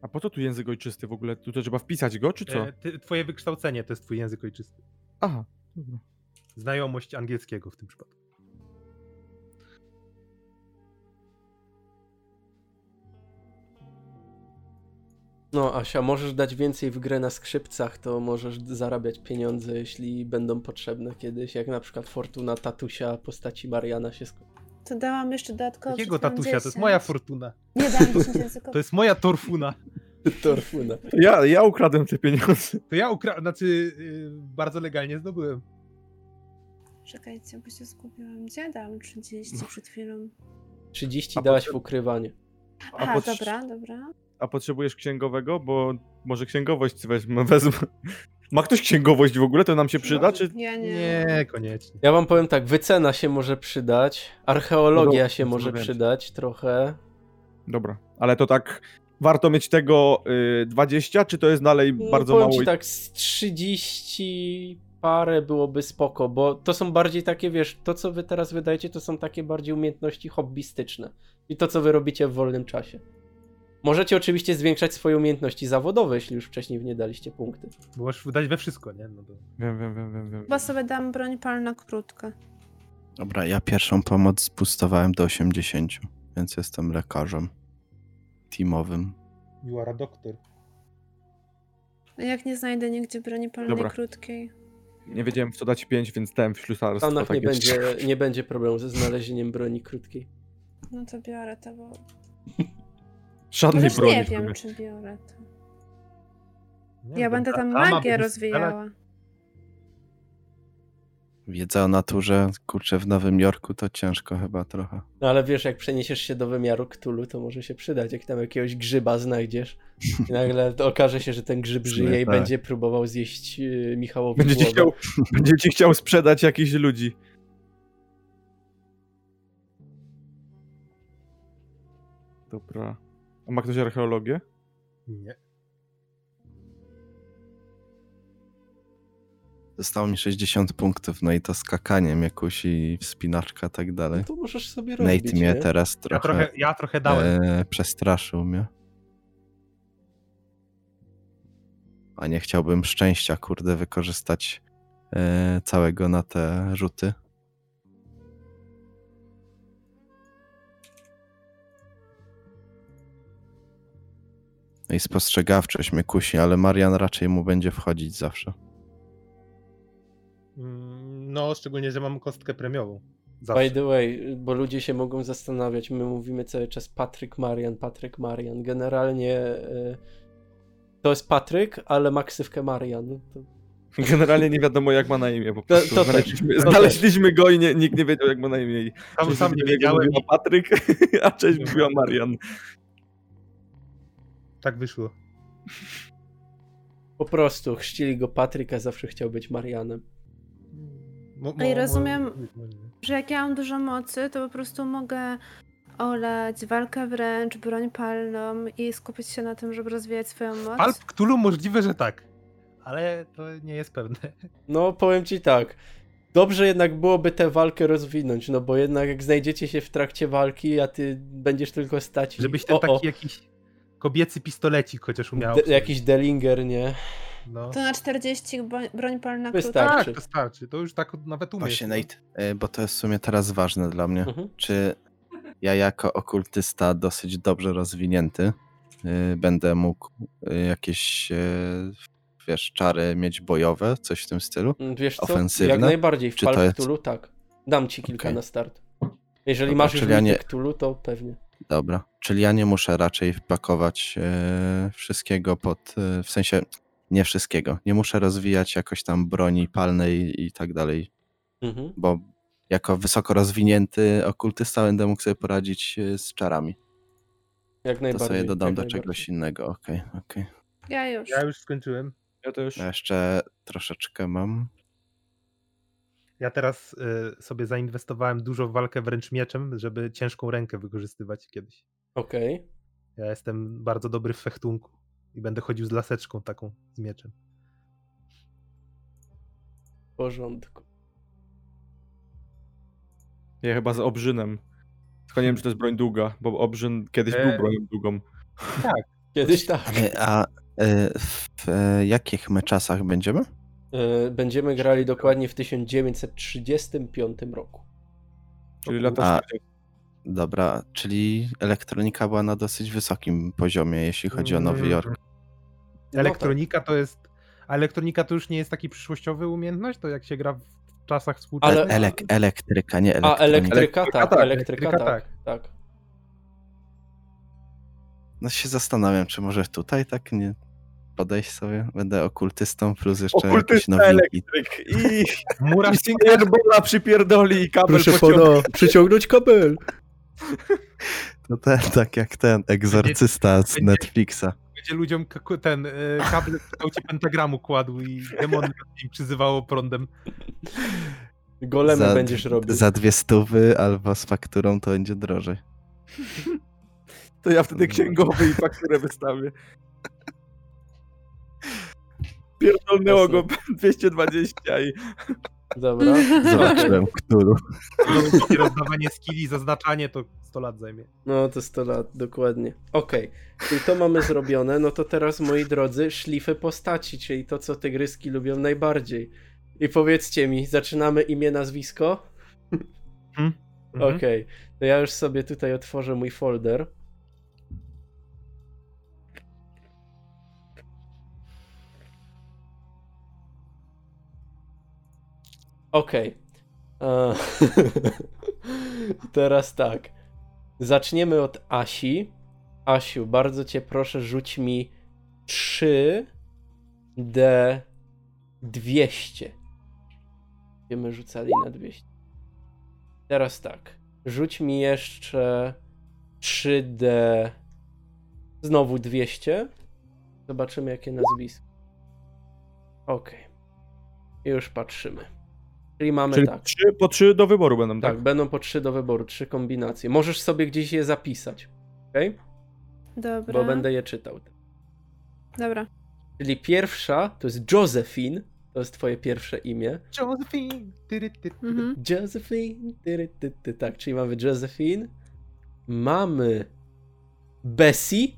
Speaker 3: A po co tu język ojczysty w ogóle? Tu to trzeba wpisać go, czy co?
Speaker 2: E, ty, twoje wykształcenie to jest twój język ojczysty.
Speaker 3: Aha, dobra.
Speaker 2: Znajomość angielskiego w tym przypadku.
Speaker 5: No, Asia, możesz dać więcej w grę na skrzypcach, to możesz zarabiać pieniądze, jeśli będą potrzebne kiedyś, jak na przykład fortuna tatusia postaci Mariana się skończy.
Speaker 4: To dałam jeszcze dodatkowo.
Speaker 2: Jakiego
Speaker 4: przed chwilą
Speaker 2: tatusia? To jest
Speaker 4: 10.
Speaker 2: moja fortuna.
Speaker 4: Nie dam 10 języków.
Speaker 2: To jest moja torfuna.
Speaker 5: Torfuna.
Speaker 3: To ja, ja ukradłem te pieniądze.
Speaker 2: To ja ukra... Znaczy, yy, bardzo legalnie zdobyłem.
Speaker 4: Czekajcie, bo się zgubiłam. Gdzie dałam
Speaker 2: No.
Speaker 4: 30 przed chwilą?
Speaker 5: 30
Speaker 3: A
Speaker 5: dałaś w
Speaker 3: potem-
Speaker 5: ukrywanie.
Speaker 3: A,
Speaker 4: Aha,
Speaker 3: potrz-
Speaker 4: dobra, dobra.
Speaker 3: a potrzebujesz księgowego? Bo może księgowość weźmę, wezmę. Ma ktoś księgowość w ogóle? To nam się przyda? Czy
Speaker 4: Ja nie.
Speaker 2: znaczy, Nie, koniecznie.
Speaker 5: Ja wam powiem tak, wycena się może przydać, archeologia
Speaker 7: No,
Speaker 3: Dobra,
Speaker 5: się może
Speaker 3: rozmawiamy.
Speaker 5: przydać trochę.
Speaker 3: Dobra, ale to tak warto mieć tego y, 20, czy to jest dalej
Speaker 5: No,
Speaker 3: bardzo
Speaker 5: powiem
Speaker 3: mało?
Speaker 5: Ci tak, z 30 parę byłoby spoko, bo to są bardziej takie, wiesz, to co wy teraz wydajecie, to są takie bardziej umiejętności hobbystyczne. I to, co wy robicie w wolnym czasie. Możecie oczywiście zwiększać swoje umiejętności zawodowe, jeśli już wcześniej w nie daliście punkty.
Speaker 2: Bo Możesz wydać we wszystko, nie? No to...
Speaker 3: Wiem, wiem, wiem, wiem, wiem.
Speaker 4: Chyba sobie dam broń palna krótka.
Speaker 7: Dobra, ja pierwszą pomoc spustowałem do 80, więc jestem lekarzem teamowym.
Speaker 2: You are a doctor.
Speaker 4: Jak nie znajdę nigdzie broni palnej
Speaker 3: Dobra.
Speaker 4: krótkiej.
Speaker 3: Nie wiedziałem w co dać 5, więc dałem w
Speaker 5: W
Speaker 3: ślusarstwo.
Speaker 5: Stanach nie
Speaker 3: takie-
Speaker 5: będzie, nie będzie problemu ze znalezieniem broni krótkiej.
Speaker 4: No to biorę to, bo.
Speaker 3: Żadnej
Speaker 4: Chociaż
Speaker 3: broni.
Speaker 4: No nie
Speaker 3: w
Speaker 4: wiem,
Speaker 3: ogóle.
Speaker 4: czy biorę to.
Speaker 2: Nie,
Speaker 4: Ja
Speaker 2: no,
Speaker 4: będę tam
Speaker 2: katana,
Speaker 4: magię
Speaker 2: będę strzelać.
Speaker 4: rozwijała.
Speaker 7: Wiedza o naturze, kurczę, w Nowym Jorku to ciężko chyba trochę.
Speaker 5: No ale wiesz, jak przeniesiesz się do wymiaru Ktulu, to może się przydać, jak tam jakiegoś grzyba znajdziesz. I nagle to okaże się, że ten grzyb
Speaker 7: W sumie
Speaker 5: żyje i
Speaker 7: tak.
Speaker 5: będzie próbował zjeść yy, Michałowi
Speaker 3: Będzie ci,
Speaker 5: głowę.
Speaker 3: chciał, będzie ci chciał sprzedać jakichś ludzi. Dobra. A ma ktoś archeologię?
Speaker 2: Nie.
Speaker 7: Zostało mi 60 punktów, no i to skakanie mnie kusi, wspinaczka i tak
Speaker 5: No
Speaker 7: dalej.
Speaker 5: to możesz sobie robić,
Speaker 7: Nate mnie
Speaker 5: nie?
Speaker 7: teraz
Speaker 2: Ja trochę,
Speaker 7: trochę,
Speaker 2: ja trochę dałem.
Speaker 7: e, przestraszył mnie. A nie chciałbym szczęścia, kurde, wykorzystać e, całego na te rzuty. No i spostrzegawczość mnie kusi, ale Marian raczej mu będzie wchodzić zawsze.
Speaker 2: Mm, No, szczególnie, że mam kostkę premiową.
Speaker 5: By
Speaker 2: Zawsze.
Speaker 5: the way, bo ludzie się mogą zastanawiać, my mówimy cały czas Patryk Marian, Patryk Marian. Generalnie y, to jest Patryk, ale ma ksywkę Marian. No To,
Speaker 3: Generalnie nie wiadomo jak ma na imię. Po
Speaker 5: to,
Speaker 3: prostu
Speaker 5: to też.
Speaker 3: znaleźliśmy,
Speaker 5: to
Speaker 3: znaleźliśmy go i nie, nikt nie wiedział jak ma na imię. I
Speaker 2: Sam,
Speaker 3: cześć
Speaker 2: sam nie
Speaker 3: ludziom
Speaker 2: wiedziałem,
Speaker 3: mówiła Patryk, a cześć mówiła Marian.
Speaker 2: tak wyszło.
Speaker 5: Po prostu chrzcili go Patryk, a zawsze chciał być Marianem.
Speaker 2: Mo-
Speaker 4: Ej,
Speaker 2: mo-
Speaker 4: rozumiem.
Speaker 2: mo- nie.
Speaker 4: Że jak ja mam dużo mocy, to po prostu mogę olać walkę wręcz, broń palną i skupić się na tym, żeby rozwijać swoją moc.
Speaker 2: Palp Cthulhu możliwe, że tak. Ale to nie jest pewne.
Speaker 5: No, powiem ci tak. Dobrze jednak byłoby tę walkę rozwinąć, no bo jednak jak znajdziecie się w trakcie walki, a ty będziesz tylko stać i...
Speaker 2: Żebyś ten
Speaker 5: o, o,
Speaker 2: taki jakiś kobiecy pistolecik chociaż umiał.
Speaker 5: de, jakiś Delinger, nie?
Speaker 2: No.
Speaker 4: To na 40 bo- broń palna krótka.
Speaker 5: Wystarczy.
Speaker 2: Tak, to starczy. To już tak nawet umiesz.
Speaker 7: Właśnie,
Speaker 2: no.
Speaker 7: Nate, e, bo to jest w sumie teraz ważne dla mnie.
Speaker 5: Mhm.
Speaker 7: Czy ja jako okultysta dosyć dobrze rozwinięty y, będę mógł y, jakieś y, wiesz, czary mieć bojowe, coś w tym stylu?
Speaker 5: Mm, Wiesz co,
Speaker 7: Ofensywne?
Speaker 5: jak najbardziej w
Speaker 7: Czy to
Speaker 5: Pal
Speaker 7: jest-
Speaker 5: Cthulhu, tak. Dam ci kilka
Speaker 7: Okej.
Speaker 5: na start. Jeżeli
Speaker 7: Dobra,
Speaker 5: masz już
Speaker 7: czyli ja
Speaker 5: ja
Speaker 7: nie-
Speaker 5: Cthulhu, to pewnie.
Speaker 7: Dobra. Czyli ja nie muszę raczej wpakować y, wszystkiego pod, y, w sensie nie wszystkiego. Nie muszę rozwijać jakoś tam broni palnej i tak dalej,
Speaker 5: Mhm.
Speaker 7: bo jako wysoko rozwinięty okultysta będę mógł sobie poradzić y, z czarami.
Speaker 5: Jak
Speaker 7: To
Speaker 5: najbardziej.
Speaker 7: sobie dodam
Speaker 5: jak
Speaker 7: do
Speaker 5: najbardziej.
Speaker 7: czegoś innego. Okej, okej.
Speaker 4: Ja już.
Speaker 2: Ja już skończyłem.
Speaker 3: Ja też.
Speaker 7: Ja jeszcze troszeczkę mam.
Speaker 2: Ja teraz y, sobie zainwestowałem dużo w walkę wręcz mieczem, żeby ciężką rękę wykorzystywać kiedyś.
Speaker 5: Okej.
Speaker 2: Ja jestem bardzo dobry w fechtunku i będę chodził z laseczką taką z mieczem.
Speaker 5: W porządku.
Speaker 3: Ja chyba z obrzynem. Tylko nie wiem, czy to jest broń długa, bo obrzyn kiedyś
Speaker 2: E.
Speaker 3: był bronią długą.
Speaker 5: Kiedyś tak.
Speaker 7: E, A e, w e, jakich my czasach będziemy?
Speaker 5: E, Będziemy grali dokładnie w 1935 roku.
Speaker 3: Czyli
Speaker 2: To-
Speaker 3: lata
Speaker 7: A.
Speaker 3: 40.
Speaker 7: Dobra, czyli elektronika była na dosyć wysokim poziomie, jeśli chodzi o Nowy
Speaker 2: Mm,
Speaker 7: Jork.
Speaker 2: Elektronika to jest. A elektronika to już nie jest taki przyszłościowy umiejętność, to jak się gra w czasach współczesnych.
Speaker 7: Ale...
Speaker 1: Ale-
Speaker 7: E, Elek, elektryka, nie
Speaker 1: A,
Speaker 7: elektronika.
Speaker 1: elektryka,
Speaker 3: Elektryka
Speaker 1: tak,
Speaker 3: tak,
Speaker 1: elektryka,
Speaker 2: elektryka
Speaker 1: tak, tak.
Speaker 7: No się zastanawiam, czy może tutaj tak nie podejść sobie. Będę okultystą plus jeszcze jakieś
Speaker 3: Okultysta
Speaker 7: nowinki.
Speaker 3: Elektryk i
Speaker 2: Mura
Speaker 3: i Fingerbola przypierdoli i kabel
Speaker 5: Proszę
Speaker 3: pociągnie.
Speaker 5: pana, przyciągnąć kabel.
Speaker 7: To ten, tak jak ten egzorcysta z
Speaker 2: Będzie-
Speaker 7: Netflixa.
Speaker 2: będzie ludziom k- ten y, kable w kształcie pentagramu kładł i demony im przyzywało prądem.
Speaker 1: Golemy
Speaker 7: Za-
Speaker 1: będziesz robił.
Speaker 7: Za dwie stówy albo z fakturą to będzie drożej.
Speaker 3: To ja wtedy księgowy i fakturę wystawię. Pierdolnęło go 220 i
Speaker 1: Dobra.
Speaker 7: Zobaczyłem, którą.
Speaker 2: I rozdawanie skilli, zaznaczanie to 100 lat zajmie.
Speaker 1: No to 100 lat, dokładnie. Okej, czyli to mamy zrobione. No to teraz, moi drodzy, szlify postaci, czyli to, co tygryski lubią najbardziej. I powiedzcie mi, zaczynamy imię, nazwisko?
Speaker 2: Mhm.
Speaker 1: Okej, to ja już sobie tutaj otworzę mój folder. Okej. E, Teraz tak. Zaczniemy od Asi. Asiu, bardzo cię proszę, rzuć mi 3D200. Będziemy rzucali na 200. Teraz tak. Rzuć mi jeszcze 3D. Znowu 200. Zobaczymy, jakie nazwisko. Okej. Już patrzymy. Czyli mamy
Speaker 3: Czyli
Speaker 1: tak.
Speaker 3: trzy, po trzy do wyboru będą,
Speaker 1: Tak,
Speaker 3: tak?
Speaker 1: będą po trzy do wyboru, trzy kombinacje. Możesz sobie gdzieś je zapisać, okej?
Speaker 4: Dobra.
Speaker 1: Bo będę je czytał.
Speaker 4: Dobra.
Speaker 1: Czyli pierwsza to jest Josephine, to jest twoje pierwsze imię.
Speaker 2: Josephine! tyry, tyry, tyry.
Speaker 4: Mhm.
Speaker 1: Josephine, tyry, ty, ty, tak, czyli mamy Josephine. Mamy Bessie.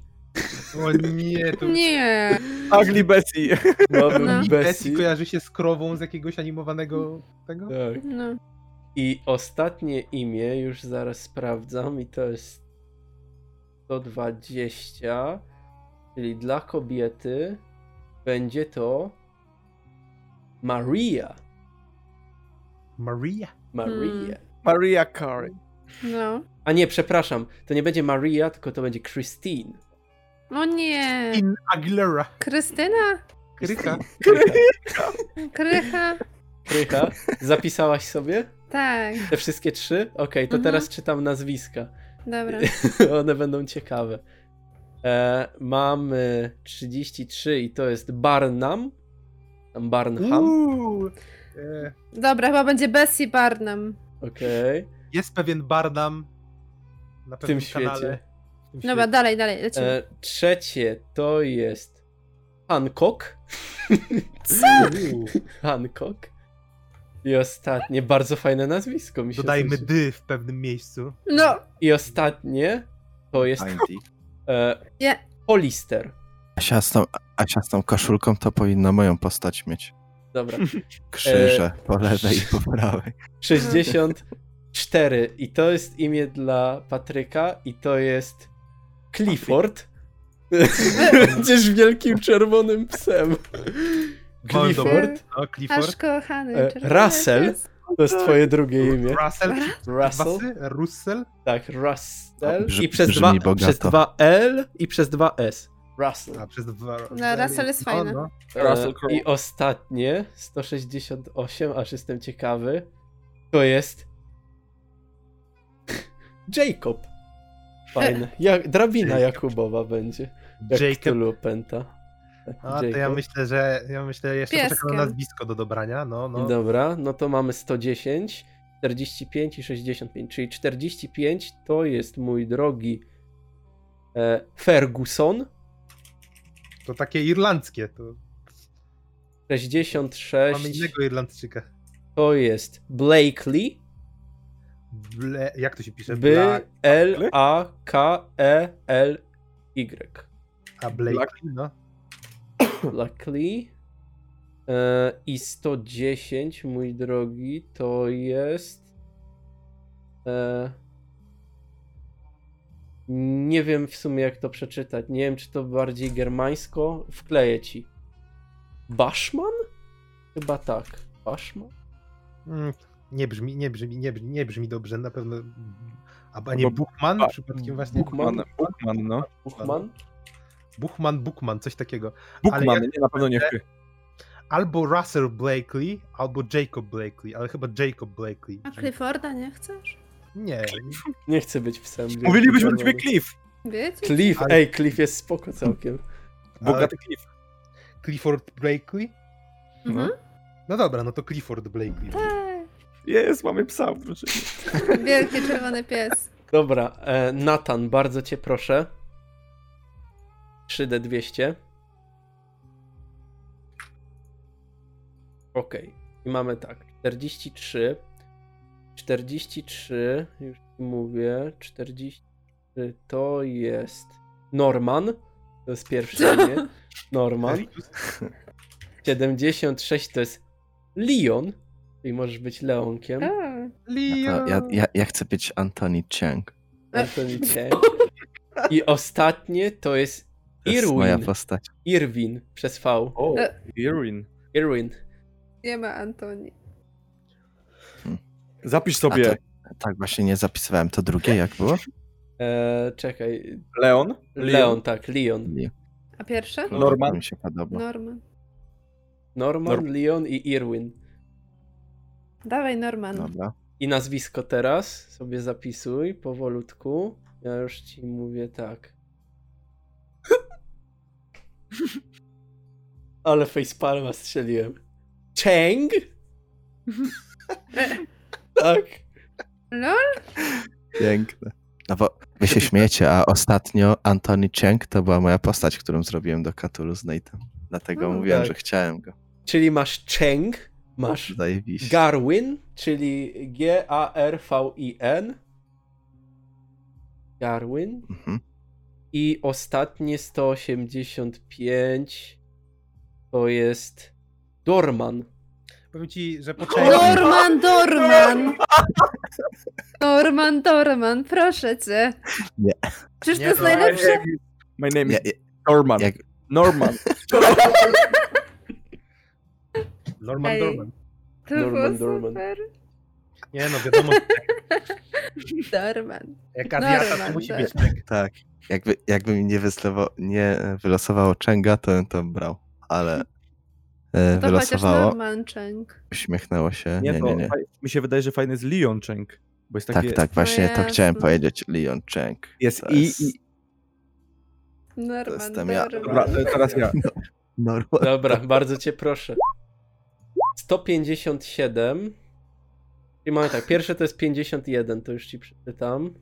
Speaker 2: O nie, to
Speaker 4: Nie.
Speaker 3: Ugly Bessie.
Speaker 1: Mamy
Speaker 4: No.
Speaker 2: Bessie
Speaker 1: Bessie.
Speaker 2: kojarzy się z krową z jakiegoś animowanego tego?
Speaker 3: E.
Speaker 1: Tak.
Speaker 4: No.
Speaker 1: I ostatnie imię, już zaraz sprawdzam, i to jest 120, czyli dla kobiety będzie to Maria.
Speaker 2: Maria.
Speaker 1: Maria.
Speaker 4: Hmm.
Speaker 3: Maria Carey.
Speaker 4: No.
Speaker 1: A nie, przepraszam, to nie będzie Maria, tylko to będzie Christine.
Speaker 4: O nie.
Speaker 2: In Aguilera.
Speaker 4: Krystyna?
Speaker 2: Kryka.
Speaker 4: Krycha?
Speaker 1: Krycha, zapisałaś sobie
Speaker 4: Tak.
Speaker 1: te wszystkie trzy? Okej, to
Speaker 4: Mhm.
Speaker 1: teraz czytam nazwiska.
Speaker 4: Dobra.
Speaker 1: One będą ciekawe. E, mamy 33 i to jest Barnum. Tam Barnham.
Speaker 2: Uuu. E,
Speaker 4: Dobra, chyba będzie Bessie Barnum.
Speaker 1: Okej.
Speaker 2: Jest pewien Barnum na
Speaker 1: W
Speaker 2: pewnym
Speaker 1: tym
Speaker 2: kanale.
Speaker 1: świecie.
Speaker 2: W tym
Speaker 4: Dobra, dalej, dalej, lecimy.
Speaker 1: E, trzecie to jest Hancock.
Speaker 2: świecie. Uuu.
Speaker 1: Hancock. I ostatnie, bardzo fajne nazwisko mi się
Speaker 2: Dodajmy
Speaker 1: słyszy.
Speaker 2: dy w pewnym miejscu.
Speaker 4: No,
Speaker 1: I ostatnie to jest
Speaker 2: Tak.
Speaker 1: e,
Speaker 4: Nie.
Speaker 1: Hollister.
Speaker 7: Asia z, tą, Asia z tą koszulką to powinna moją postać mieć.
Speaker 1: Dobra.
Speaker 7: Krzyże
Speaker 1: E,
Speaker 7: po lewej i po prawej.
Speaker 1: 64. I to jest imię dla Patryka i to jest Clifford. Będziesz wielkim czerwonym psem. Clifford.
Speaker 2: No,
Speaker 4: aż
Speaker 2: Clifford.
Speaker 4: kochany.
Speaker 1: E,
Speaker 4: czerwony
Speaker 1: Russell.
Speaker 4: pies.
Speaker 1: To jest twoje drugie imię.
Speaker 2: Russell.
Speaker 1: Russell.
Speaker 2: Wasy? Russell?
Speaker 1: Tak, Russell.
Speaker 7: Brz-
Speaker 1: I przez
Speaker 7: brzmi
Speaker 1: dwa,
Speaker 7: bogato.
Speaker 1: przez dwa L i przez dwa S. Russell.
Speaker 2: A, przez dwa...
Speaker 4: No, Russell jest fajny.
Speaker 2: No,
Speaker 1: E,
Speaker 3: Russell Crowe.
Speaker 1: I ostatnie, 168, aż jestem ciekawy, to jest Jacob. Fajne. Ja, drabina
Speaker 2: Jacob.
Speaker 1: Jakubowa będzie.
Speaker 2: no.
Speaker 1: Jak
Speaker 2: Jacob.
Speaker 1: Cthulhu pęta.
Speaker 2: A, to ja
Speaker 1: Jacob.
Speaker 2: myślę, że ja myślę jeszcze poczekam na
Speaker 4: Pieskiem.
Speaker 2: nazwisko do dobrania. No, no.
Speaker 1: Dobra, no to mamy 110, 45 i 65, czyli 45 to jest mój drogi e, Ferguson,
Speaker 2: To takie irlandzkie. To mamy
Speaker 1: 66
Speaker 2: innego Irlandczyka.
Speaker 1: to jest Blakely,
Speaker 2: Ble... Jak to się pisze?
Speaker 1: B
Speaker 2: Black...
Speaker 1: L A K E L Y.
Speaker 2: A Blake,
Speaker 3: Black-
Speaker 2: no.
Speaker 1: Blackley. E, I 110, mój drogi, to jest. E, Nie wiem w sumie jak to przeczytać. Nie wiem czy to bardziej germańsko. Wkleję ci. Baszman? Chyba tak. Baszman?
Speaker 2: Mm, Nie brzmi, nie brzmi, nie brzmi, nie brzmi dobrze, na pewno. A a nie
Speaker 3: Chyba
Speaker 2: Buchman
Speaker 3: Buchman.
Speaker 2: przypadkiem właśnie?
Speaker 3: Bukman, Bukman, no.
Speaker 1: Buchman?
Speaker 2: Buchman, Buchman, coś takiego.
Speaker 3: Bukman,
Speaker 2: jak-
Speaker 3: nie, na pewno nie wpy.
Speaker 2: Albo Russell Blakely, albo Jacob Blakely, ale chyba Jacob Blakely.
Speaker 4: A Clifforda nie chcesz?
Speaker 2: Nie,
Speaker 1: Nie chcę być psem. wielkim
Speaker 3: Mówilibyśmy do ciebie
Speaker 1: Germanem.
Speaker 3: Cliff.
Speaker 4: Wiecie?
Speaker 1: Cliff,
Speaker 2: Ale-
Speaker 1: ej, Cliff jest spoko całkiem.
Speaker 3: Bogaty Cliff.
Speaker 2: Clifford Blakely?
Speaker 4: Mhm.
Speaker 2: No dobra, no to Clifford Blakely.
Speaker 4: Tak.
Speaker 3: Jest, mamy psa w drużynie.
Speaker 4: Wielki czerwony pies.
Speaker 1: Dobra, e, Nathan, bardzo cię proszę. 3D200. Okej, i mamy tak. 43. 43, już ci mówię. 43 to jest Norman. To jest pierwsze imię. Norman. 76 to jest Leon. Czyli możesz być Leonkiem.
Speaker 4: O,
Speaker 7: Ja, to, ja, ja, ja chcę być Anthony Chang.
Speaker 1: Anthony Chen. I ostatnie to jest
Speaker 7: To jest moja
Speaker 1: Irwin.
Speaker 7: postać.
Speaker 1: Irwin przez V.
Speaker 3: O,
Speaker 4: E.
Speaker 3: Irwin.
Speaker 1: Irwin.
Speaker 4: nie ma Antoni.
Speaker 3: Zapisz
Speaker 7: A
Speaker 3: sobie
Speaker 7: To, tak, właśnie nie zapisywałem. To drugie jak było?
Speaker 1: E, czekaj.
Speaker 3: Leon,
Speaker 1: Leon, tak, Leon.
Speaker 7: Nie.
Speaker 4: A pierwsze?
Speaker 7: No,
Speaker 3: Norman.
Speaker 7: to Mi się podoba.
Speaker 4: Norman.
Speaker 1: Norman,
Speaker 3: Norm-
Speaker 1: Leon i Irwin.
Speaker 4: Dawaj Norman.
Speaker 7: Dobra.
Speaker 1: I nazwisko teraz sobie zapisuj powolutku. Ja już ci mówię tak. Ale facepalma strzeliłem. Cheng?
Speaker 4: E,
Speaker 1: tak.
Speaker 4: LOL?
Speaker 7: Piękne. No bo wy się śmiejecie, a ostatnio Anthony Chang to była moja postać, którą zrobiłem do Cthulhu z Nate'em. Dlatego
Speaker 4: O,
Speaker 7: mówiłem,
Speaker 1: tak.
Speaker 7: że chciałem go.
Speaker 1: Czyli masz Cheng, masz
Speaker 7: Zajebiście.
Speaker 1: Garwin, czyli G-A-R-V-I-N. Garwin.
Speaker 7: Mhm.
Speaker 1: I ostatnie 185 to jest Dorman.
Speaker 2: Powiem ci, że po części,
Speaker 4: Norman, Dorman! Norman, Dorman, proszę cię.
Speaker 7: Nie.
Speaker 4: Przecież
Speaker 2: Nie,
Speaker 4: to jest
Speaker 2: no,
Speaker 4: najlepsze.
Speaker 3: My name
Speaker 7: Ja,
Speaker 3: is
Speaker 7: ja,
Speaker 3: Norman.
Speaker 7: jak,
Speaker 3: Norman.
Speaker 2: Norman
Speaker 4: Ej.
Speaker 2: Dorman.
Speaker 4: To
Speaker 1: Norman,
Speaker 4: było
Speaker 1: Dorman.
Speaker 4: super.
Speaker 2: Nie no, wiadomo,
Speaker 4: Dorman.
Speaker 2: jak Adiata,
Speaker 4: Norman,
Speaker 2: to musi
Speaker 4: tak.
Speaker 2: być tak.
Speaker 7: tak. Jakby, jakby mi nie, wyslewo, nie e, wylosowało Changa, to bym to brał. Ale e,
Speaker 4: No To chociaż
Speaker 7: wylosowało,
Speaker 4: Norman Cheng.
Speaker 7: uśmiechnęło się.
Speaker 3: Nie,
Speaker 7: Nie,
Speaker 3: to
Speaker 7: nie, nie.
Speaker 3: faj- mi się wydaje, że fajny jest Leon Cheng, bo jest takie...
Speaker 7: Tak, tak, właśnie to chciałem
Speaker 4: jasne.
Speaker 7: powiedzieć. Leon Chang.
Speaker 3: Jest
Speaker 7: To
Speaker 3: i,
Speaker 7: jest-
Speaker 3: i...
Speaker 4: Norman,
Speaker 7: jestem ja.
Speaker 3: Dobra,
Speaker 4: Dorman.
Speaker 3: e, teraz ja.
Speaker 7: Norman.
Speaker 1: Dobra, bardzo cię proszę. 157. I mamy tak, pierwsze to jest 51, to już ci przeczytam.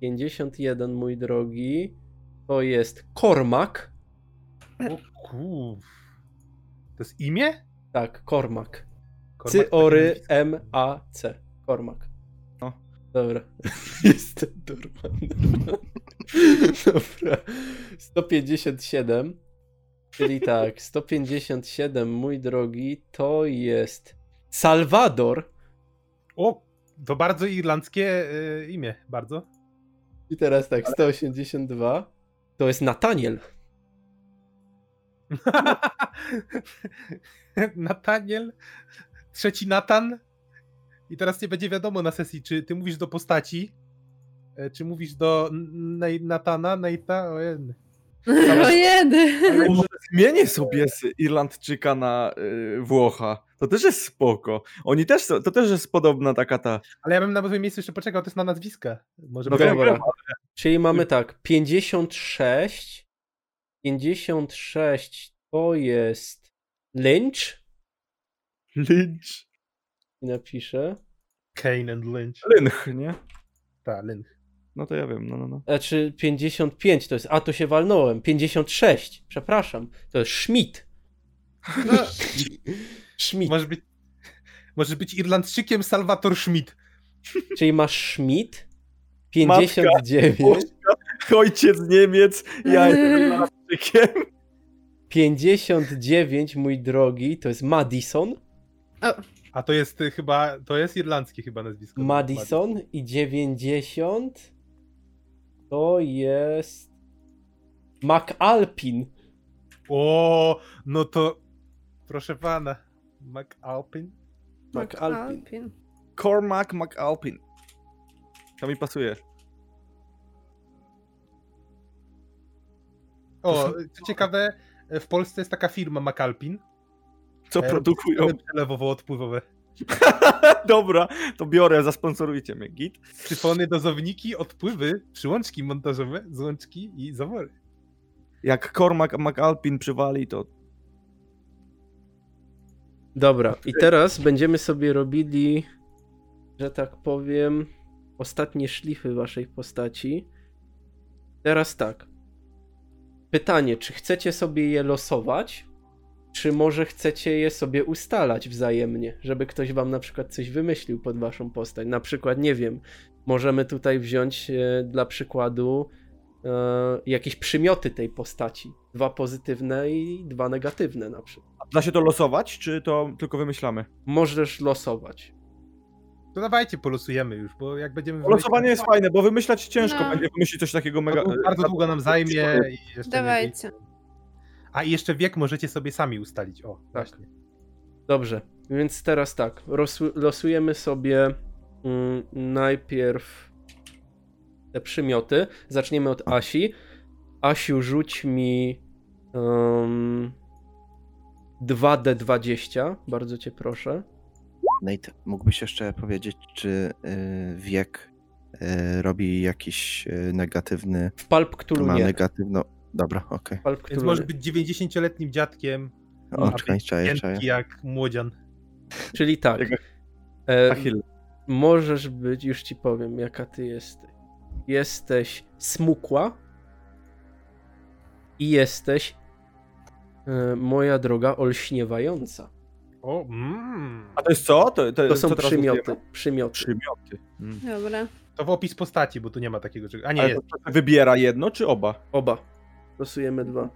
Speaker 1: 51, mój drogi, to jest Kormak.
Speaker 4: tak.
Speaker 2: O, kuf. To jest imię?
Speaker 1: Tak, Kormak.
Speaker 2: Kormak to
Speaker 1: Cyory
Speaker 2: imię.
Speaker 1: M-A-C. Kormak.
Speaker 3: No.
Speaker 1: Dobra. Jestem Dorman. Dobra. 157. Czyli tak, 157, mój drogi, to jest Salwador.
Speaker 2: O, to bardzo irlandzkie y, imię, bardzo.
Speaker 1: I teraz tak, 182. To jest Nataniel.
Speaker 2: Nataniel, trzeci Natan. I teraz nie będzie wiadomo na sesji, czy ty mówisz do postaci, e, czy mówisz do N- Nate- Natana, Nate'a, o jeden.
Speaker 4: No Ojedy.
Speaker 3: Ale może Zmienię sobie z Irlandczyka na y, Włocha. To też jest spoko. Oni też są, to też jest podobna taka ta...
Speaker 2: Ale ja bym na moim miejscu jeszcze poczekał też na nazwiska. Może
Speaker 1: No
Speaker 2: być-
Speaker 1: dobra. Czyli mamy tak, 56. 56 to jest Lynch.
Speaker 3: Lynch.
Speaker 1: I napiszę.
Speaker 2: Kane and Lynch.
Speaker 3: Lynch, nie?
Speaker 2: Ta, Lynch.
Speaker 3: No to ja wiem, no, no, no.
Speaker 1: Znaczy 55 to jest, a tu się walnąłem, 56, przepraszam, to jest Schmidt.
Speaker 2: No,
Speaker 1: Schmidt,
Speaker 2: może być... Może być Irlandczykiem Salvator Schmidt.
Speaker 1: czyli masz Schmidt, 59,
Speaker 3: Ojciec Niemiec, ja jestem Irlandczykiem.
Speaker 1: 59 mój drogi, to jest Madison,
Speaker 2: A to jest y, chyba, to jest irlandzkie chyba nazwisko.
Speaker 1: Madison i 90 To jest. McAlpin.
Speaker 2: O, no to proszę pana, McAlpin.
Speaker 1: McAlpin.
Speaker 4: Tak, Alpin.
Speaker 3: Cormac McAlpin. To mi pasuje.
Speaker 2: O, co ciekawe, w Polsce jest taka firma McAlpin,
Speaker 3: Co
Speaker 2: Ja
Speaker 3: produkują?
Speaker 2: przelewowo-odpływowe.
Speaker 3: Dobra, to biorę, zasponsorujcie mnie. Git.
Speaker 2: Syfony, dozowniki, odpływy, przyłączki montażowe, złączki i zawory.
Speaker 3: Jak Cormac McAlpin przywali, to
Speaker 1: Dobra, i teraz będziemy sobie robili, że tak powiem, ostatnie szlify waszej postaci. Teraz tak. Pytanie, czy chcecie sobie je losować, czy może chcecie je sobie ustalać wzajemnie, żeby ktoś wam na przykład coś wymyślił pod waszą postać. Na przykład, nie wiem, możemy tutaj wziąć e, dla przykładu e, jakieś przymioty tej postaci. Dwa pozytywne i dwa negatywne na przykład.
Speaker 3: da się to losować, czy to tylko wymyślamy?
Speaker 1: możesz losować.
Speaker 2: To dawajcie, polosujemy już, bo jak będziemy...
Speaker 3: Losowanie
Speaker 2: wymyślać-
Speaker 3: jest fajne, bo wymyślać ciężko,
Speaker 4: No.
Speaker 3: będzie wymyślić coś takiego mega... e,
Speaker 2: To bardzo długo nam zajmie i jeszcze nie-
Speaker 4: Dawajcie.
Speaker 2: A i jeszcze wiek możecie sobie sami ustalić, o,
Speaker 3: Tak.
Speaker 2: właśnie.
Speaker 1: Dobrze, więc teraz tak, rosu- losujemy sobie mm, najpierw te przymioty. Zaczniemy od Asi. Asiu, rzuć mi um, 2D20, bardzo cię proszę.
Speaker 7: Nate, mógłbyś jeszcze powiedzieć, czy y, wiek y, robi jakiś y, negatywny,
Speaker 1: W Palp Cthulhu
Speaker 7: ma
Speaker 1: nie.
Speaker 7: negatywną... Dobra, okej.
Speaker 1: W Palp
Speaker 2: Więc
Speaker 1: Cthulhu
Speaker 2: może
Speaker 1: nie.
Speaker 2: być 90-letnim dziadkiem,
Speaker 4: No.
Speaker 7: Okay.
Speaker 2: Ma
Speaker 7: O, czekaj,
Speaker 2: być
Speaker 7: czaję, czaję.
Speaker 2: cienki jak młodzian.
Speaker 1: Czyli tak,
Speaker 3: Jak
Speaker 1: e,
Speaker 3: Achille.
Speaker 1: możesz być, już ci powiem, jaka ty jesteś. Jesteś smukła i jesteś, e, moja droga, olśniewająca.
Speaker 2: O, mm.
Speaker 3: A to jest co? To,
Speaker 1: To są
Speaker 3: co teraz
Speaker 1: przymioty,
Speaker 3: rozwijamy?
Speaker 1: przymioty.
Speaker 3: Przymioty.
Speaker 4: Dobra.
Speaker 2: To w opis postaci, bo tu nie ma takiego czegoś. A nie,
Speaker 3: Ale
Speaker 2: jest.
Speaker 3: to wybiera jedno, czy oba?
Speaker 1: Oba. Losujemy dwa.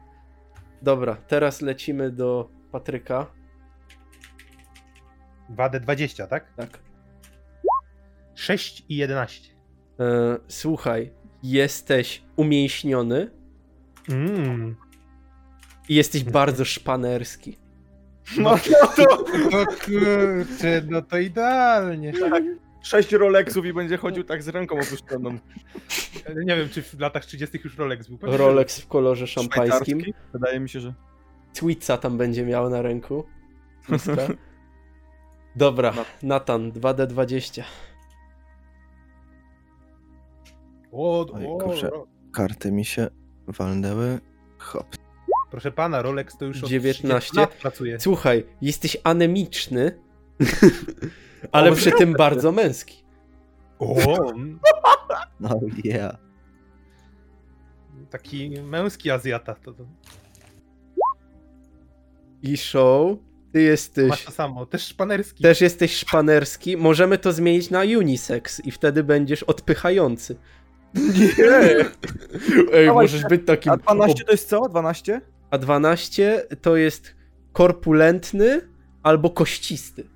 Speaker 1: Dobra, teraz lecimy do Patryka.
Speaker 2: 2D20, tak?
Speaker 1: Tak.
Speaker 2: 6 i 11.
Speaker 1: E, słuchaj, jesteś umięśniony
Speaker 2: Mm.
Speaker 1: i jesteś bardzo szpanerski.
Speaker 3: No to...
Speaker 2: No kurczę, no to idealnie.
Speaker 3: Sześć Rolexów i będzie chodził tak z ręką opuszczoną.
Speaker 2: Nie wiem, czy w latach 30 już Rolex był. Pewnie, że-
Speaker 1: Rolex w kolorze szampańskim.
Speaker 3: Szwajcarski? Wydaje mi się, że...
Speaker 1: Twitza tam będzie miał na ręku. Twica. Dobra, Natan, 2D20.
Speaker 2: O,
Speaker 7: Oj,
Speaker 2: o,
Speaker 7: kurczę.
Speaker 2: Ro-
Speaker 7: Karty mi się walnęły. Hop.
Speaker 2: proszę pana, Rolex to już od
Speaker 1: 19.
Speaker 2: 30 lat pracuje.
Speaker 1: Słuchaj, jesteś anemiczny, ale przy tym bardzo męski.
Speaker 2: O, mm,
Speaker 7: No yeah.
Speaker 2: taki męski Azjata. To, to.
Speaker 1: I show, ty
Speaker 2: Masz
Speaker 1: jesteś.
Speaker 2: to samo, też szpanerski.
Speaker 1: Też jesteś szpanerski. Możemy to zmienić na unisex i wtedy będziesz odpychający.
Speaker 3: Nie!
Speaker 1: Ej,
Speaker 3: Dawaj,
Speaker 1: możesz być takim.
Speaker 3: A 12 to jest co? 12?
Speaker 1: A 12 to jest korpulentny albo kościsty.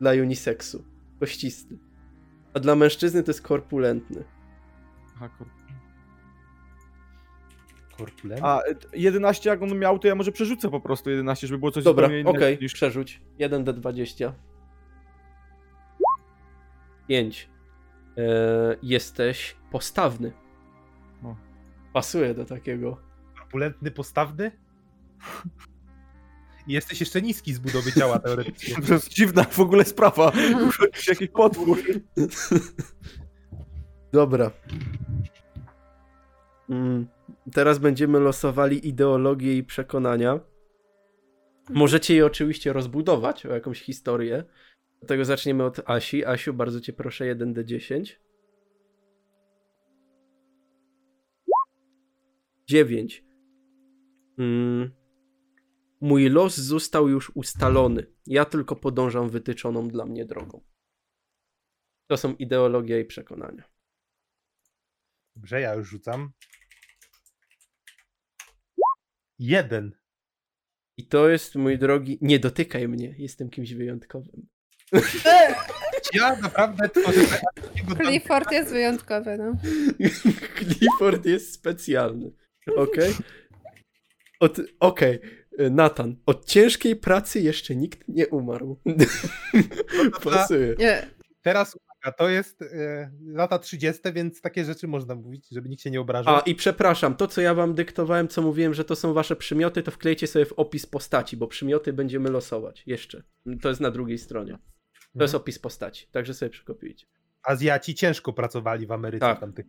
Speaker 1: Dla unisexu. Kościsty. A dla mężczyzny to jest korpulentny.
Speaker 3: Aha, kur-
Speaker 2: Korpulent.
Speaker 3: A e, 11 jak on miał, to ja może przerzucę po prostu 11, żeby było coś
Speaker 1: Dobra,
Speaker 3: zupełnie innego
Speaker 1: okej,
Speaker 3: niż...
Speaker 1: przerzuć. 1d20. 5. E, jesteś postawny.
Speaker 3: O.
Speaker 1: Pasuje do takiego.
Speaker 2: Korpulentny, postawny. I jesteś jeszcze niski z budowy ciała teoretycznie.
Speaker 3: To jest dziwna w ogóle sprawa.
Speaker 1: Mhm.
Speaker 3: Urodził się jakiś potwór.
Speaker 1: Dobra. Mm. Teraz będziemy losowali ideologię i przekonania. Możecie je oczywiście rozbudować o jakąś historię. Dlatego zaczniemy od Asi. Asiu, bardzo cię proszę, 1d10. 9. Mm. Mój los został już ustalony. Ja tylko podążam wytyczoną dla mnie drogą. To są ideologia i przekonania.
Speaker 2: Dobrze, ja już rzucam. Jeden.
Speaker 1: I to jest, mój drogi, nie dotykaj mnie, jestem kimś wyjątkowym.
Speaker 2: Ja naprawdę tworzę takiego tam-
Speaker 4: Clifford jest wyjątkowy, no.
Speaker 1: Clifford jest specjalny. Okej. Od- Okej. e, Nathan, od ciężkiej pracy jeszcze nikt nie umarł. Pasuje.
Speaker 4: Nie.
Speaker 2: Teraz uwaga, to jest e, lata 30, więc takie rzeczy można mówić, żeby nikt się nie obrażał.
Speaker 1: A i przepraszam, to co ja wam dyktowałem, co mówiłem, że to są wasze przymioty, to wklejcie sobie w opis postaci, bo przymioty będziemy losować jeszcze. To jest na drugiej stronie. To jest
Speaker 2: Mhm.
Speaker 1: opis postaci, także sobie przekopijcie.
Speaker 2: Azjaci ciężko pracowali w Ameryce
Speaker 1: Tak.
Speaker 2: tamtych.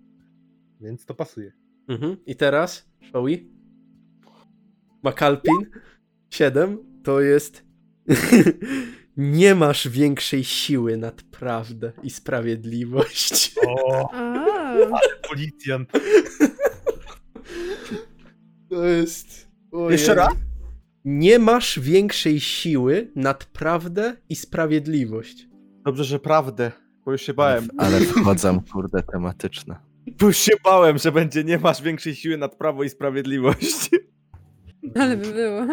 Speaker 2: Więc to pasuje.
Speaker 1: Mhm. I teraz, Shoei. Makalpin 7 to jest. Nie masz większej siły nad prawdę i sprawiedliwość.
Speaker 2: O,
Speaker 4: A,
Speaker 2: policjant.
Speaker 1: To jest. Ojej.
Speaker 3: Jeszcze raz?
Speaker 1: Nie masz większej siły nad prawdę i sprawiedliwość.
Speaker 3: Dobrze, że prawdę, bo już się bałem.
Speaker 7: Ale wchodzą, kurde, tematyczne.
Speaker 3: Bo już się bałem, że będzie nie masz większej siły nad prawo i sprawiedliwość.
Speaker 4: ale by było.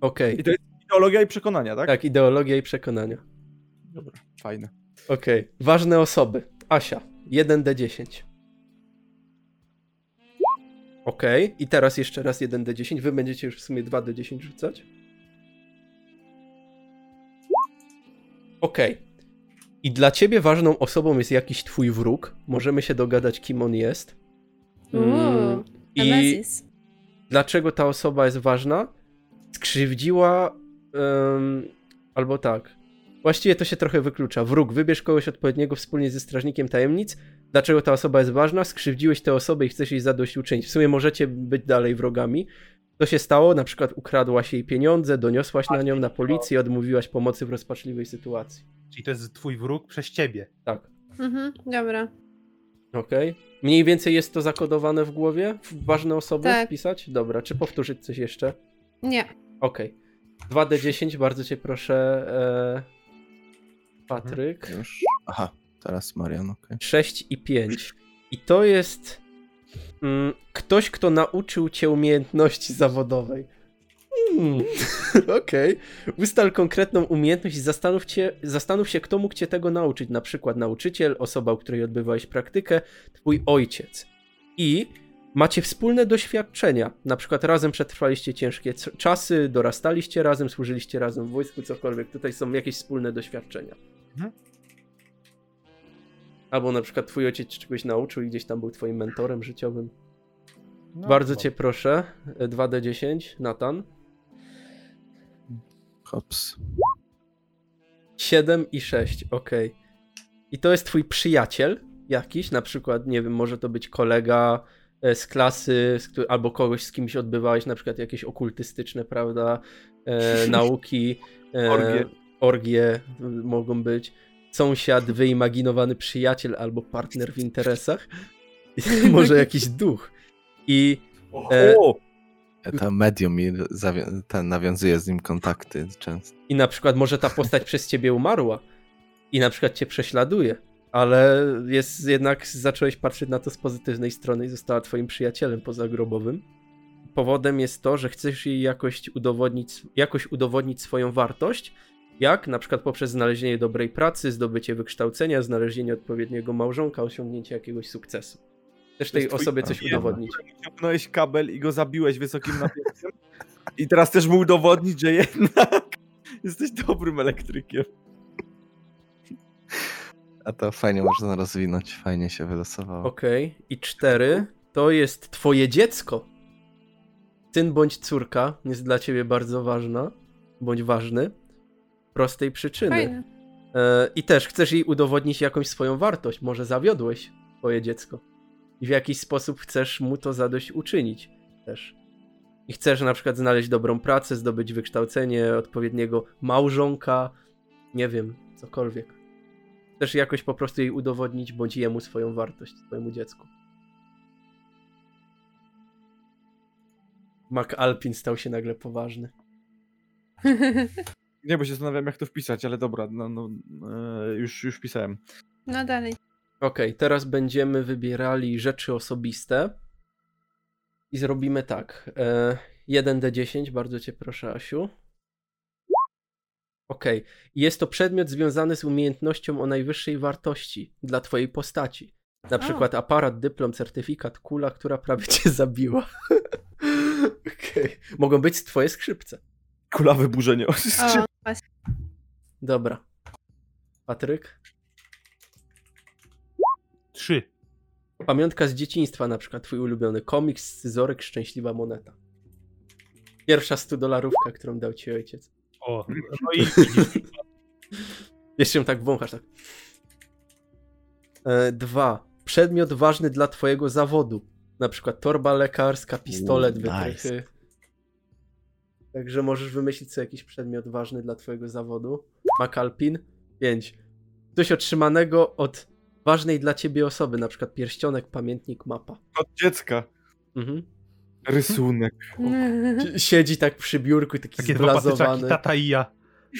Speaker 1: Okej.
Speaker 3: I to jest ideologia i przekonania, tak?
Speaker 1: Tak, ideologia i przekonania.
Speaker 3: Fajne.
Speaker 1: Okej. Ważne osoby. Asia. 1D10. Okej. I teraz jeszcze raz 1D10. Wy będziecie już w sumie 2D10 rzucać. Okej. I dla ciebie ważną osobą jest jakiś twój wróg. Możemy się dogadać, kim on jest.
Speaker 4: Uuu,
Speaker 1: Mm, I
Speaker 4: Nemesis.
Speaker 1: dlaczego ta osoba jest ważna? Skrzywdziła. em, albo tak. Właściwie to się trochę wyklucza. Wróg, wybierz kogoś odpowiedniego wspólnie ze strażnikiem tajemnic. Dlaczego ta osoba jest ważna? Skrzywdziłeś tę osobę i chcesz jej zadośćuczynić. W sumie możecie być dalej wrogami. To się stało, na przykład ukradłaś jej pieniądze, doniosłaś na nią na policję, odmówiłaś pomocy w rozpaczliwej sytuacji.
Speaker 2: Czyli to jest twój wróg przez ciebie.
Speaker 1: Tak.
Speaker 4: Mhm, dobra.
Speaker 1: Okej. Mniej więcej jest to zakodowane w głowie? W ważne osoby
Speaker 4: Tak.
Speaker 1: wpisać? Dobra, czy powtórzyć coś jeszcze?
Speaker 4: Nie.
Speaker 1: Okej. 2D10, bardzo cię proszę, e, Patryk.
Speaker 7: Już. Aha, teraz Marian, okej.
Speaker 1: 6 i 5. I to jest mm, ktoś, kto nauczył cię umiejętności zawodowej. Hmm. Okej. Ustal konkretną umiejętność i zastanów, cię, zastanów się, kto mógł cię tego nauczyć. Na przykład nauczyciel, osoba, u której odbywałeś praktykę, twój ojciec. I macie wspólne doświadczenia. Na przykład razem przetrwaliście ciężkie c- czasy, dorastaliście razem, służyliście razem w wojsku, cokolwiek. Tutaj są jakieś wspólne doświadczenia.
Speaker 2: Mhm.
Speaker 1: Albo na przykład twój ojciec cię czegoś nauczył i gdzieś tam był twoim mentorem życiowym.
Speaker 2: No,
Speaker 1: Bardzo
Speaker 2: no.
Speaker 1: cię proszę, e, 2D10, Natan.
Speaker 7: Hops.
Speaker 1: 7 i 6, okej. I to jest twój przyjaciel jakiś, na przykład, nie wiem, może to być kolega e, z klasy, z któ- albo kogoś, z kimś odbywałeś na przykład jakieś okultystyczne, prawda, e, nauki, e,
Speaker 3: Orgie.
Speaker 1: orgie y, mogą być, sąsiad, wyimaginowany przyjaciel albo partner w interesach, I może jakiś duch. I E,
Speaker 3: O,
Speaker 7: To medium i zawią- ten nawiązuje z nim kontakty często.
Speaker 1: I na przykład może ta postać przez ciebie umarła i na przykład cię prześladuje, ale jest jednak zacząłeś patrzeć na to z pozytywnej strony i została twoim przyjacielem pozagrobowym. Powodem jest to, że chcesz jej jakoś udowodnić, jakoś udowodnić swoją wartość, jak na przykład poprzez znalezienie dobrej pracy, zdobycie wykształcenia, znalezienie odpowiedniego małżonka, osiągnięcie jakiegoś sukcesu. Chcesz
Speaker 3: To
Speaker 1: tej
Speaker 3: jest twój
Speaker 1: osobie coś
Speaker 7: problem.
Speaker 1: udowodnić.
Speaker 3: ciągnąłeś kabel i go zabiłeś wysokim napięciem. I teraz też mu udowodnić, że jednak jesteś dobrym elektrykiem.
Speaker 7: A to fajnie można rozwinąć, fajnie się wylosowało.
Speaker 1: Okej, i cztery. To jest twoje dziecko. Syn bądź córka jest dla ciebie bardzo ważna, bądź ważny. Prostej przyczyny.
Speaker 4: Fajne.
Speaker 1: E, I też chcesz jej udowodnić jakąś swoją wartość. Może zawiodłeś twoje dziecko. I w jakiś sposób chcesz mu to zadośćuczynić też. I chcesz na przykład znaleźć dobrą pracę, zdobyć wykształcenie, odpowiedniego małżonka, nie wiem, cokolwiek. Chcesz jakoś po prostu jej udowodnić bądź jemu swoją wartość, swojemu dziecku. Mac Alpin stał się nagle poważny.
Speaker 3: Nie, bo się zastanawiam, jak to wpisać, ale dobra, no, no, e, już, już pisałem.
Speaker 4: No dalej.
Speaker 1: Okej, teraz będziemy wybierali rzeczy osobiste i zrobimy tak. E, 1d10, bardzo cię proszę, Asiu. Okej. Jest to przedmiot związany z umiejętnością o najwyższej wartości dla twojej postaci. Na przykład aparat, dyplom, certyfikat, kula, która prawie cię zabiła. Okej. Mogą być twoje skrzypce.
Speaker 3: Kula wyburzenia.
Speaker 4: O, właśnie.
Speaker 1: Dobra. Patryk?
Speaker 2: Trzy.
Speaker 1: Pamiątka z dzieciństwa, na przykład twój ulubiony komiks, scyzoryk, szczęśliwa moneta. Pierwsza 100 dolarówka, którą dał ci ojciec.
Speaker 2: O, no i
Speaker 1: Jeszcze ją tak wąchasz, tak. E, dwa. Przedmiot ważny dla twojego zawodu. Na przykład torba lekarska, pistolet,
Speaker 7: Uuu, nice.
Speaker 1: wytrychy. Także możesz wymyślić sobie jakiś przedmiot ważny dla twojego zawodu. Makalpin. 5. Coś otrzymanego od ważnej dla ciebie osoby, na przykład pierścionek, pamiętnik, mapa.
Speaker 3: Od dziecka.
Speaker 1: Mhm.
Speaker 3: Rysunek.
Speaker 1: Si- Siedzi tak przy biurku, taki
Speaker 2: takie dwa patyczaki,
Speaker 1: zblazowany,
Speaker 2: tata i ja.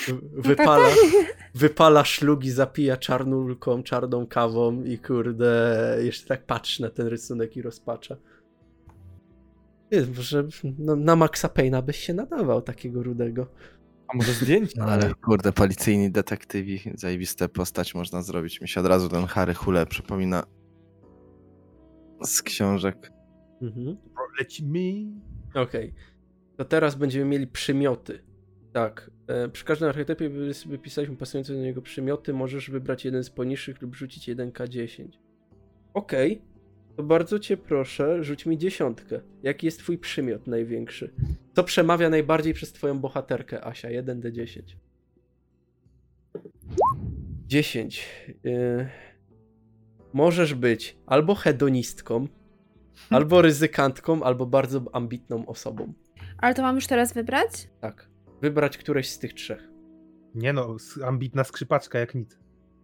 Speaker 1: w- wypala, wypala szlugi, zapija czarnulką, czarną kawą i kurde, jeszcze tak patrzy na ten rysunek i rozpacza. Ty, może no, na Maxa Payna byś się nadawał takiego rudego.
Speaker 3: A może zdjęcia?
Speaker 7: Ale kurde, policyjni detektywi, zajebiste postać można zrobić. Mi się od razu ten Harry Hule przypomina z książek.
Speaker 1: Mhm.
Speaker 2: Bro, Lecimy.
Speaker 1: Okej. To teraz będziemy mieli przymioty. Tak. E, przy każdym archetypie wy- wypisaliśmy pasujące do niego przymioty. Możesz wybrać jeden z poniższych lub rzucić 1K10. Okej. To bardzo cię proszę, rzuć mi dziesiątkę. Jaki jest twój przymiot największy? Co przemawia najbardziej przez twoją bohaterkę, Asia? 1D10. 10. E, możesz być albo hedonistką, Albo ryzykantką, albo bardzo ambitną osobą.
Speaker 4: Ale to mam już teraz wybrać?
Speaker 1: Tak. Wybrać któreś z tych trzech.
Speaker 2: Nie no, s- ambitna skrzypaczka jak nic.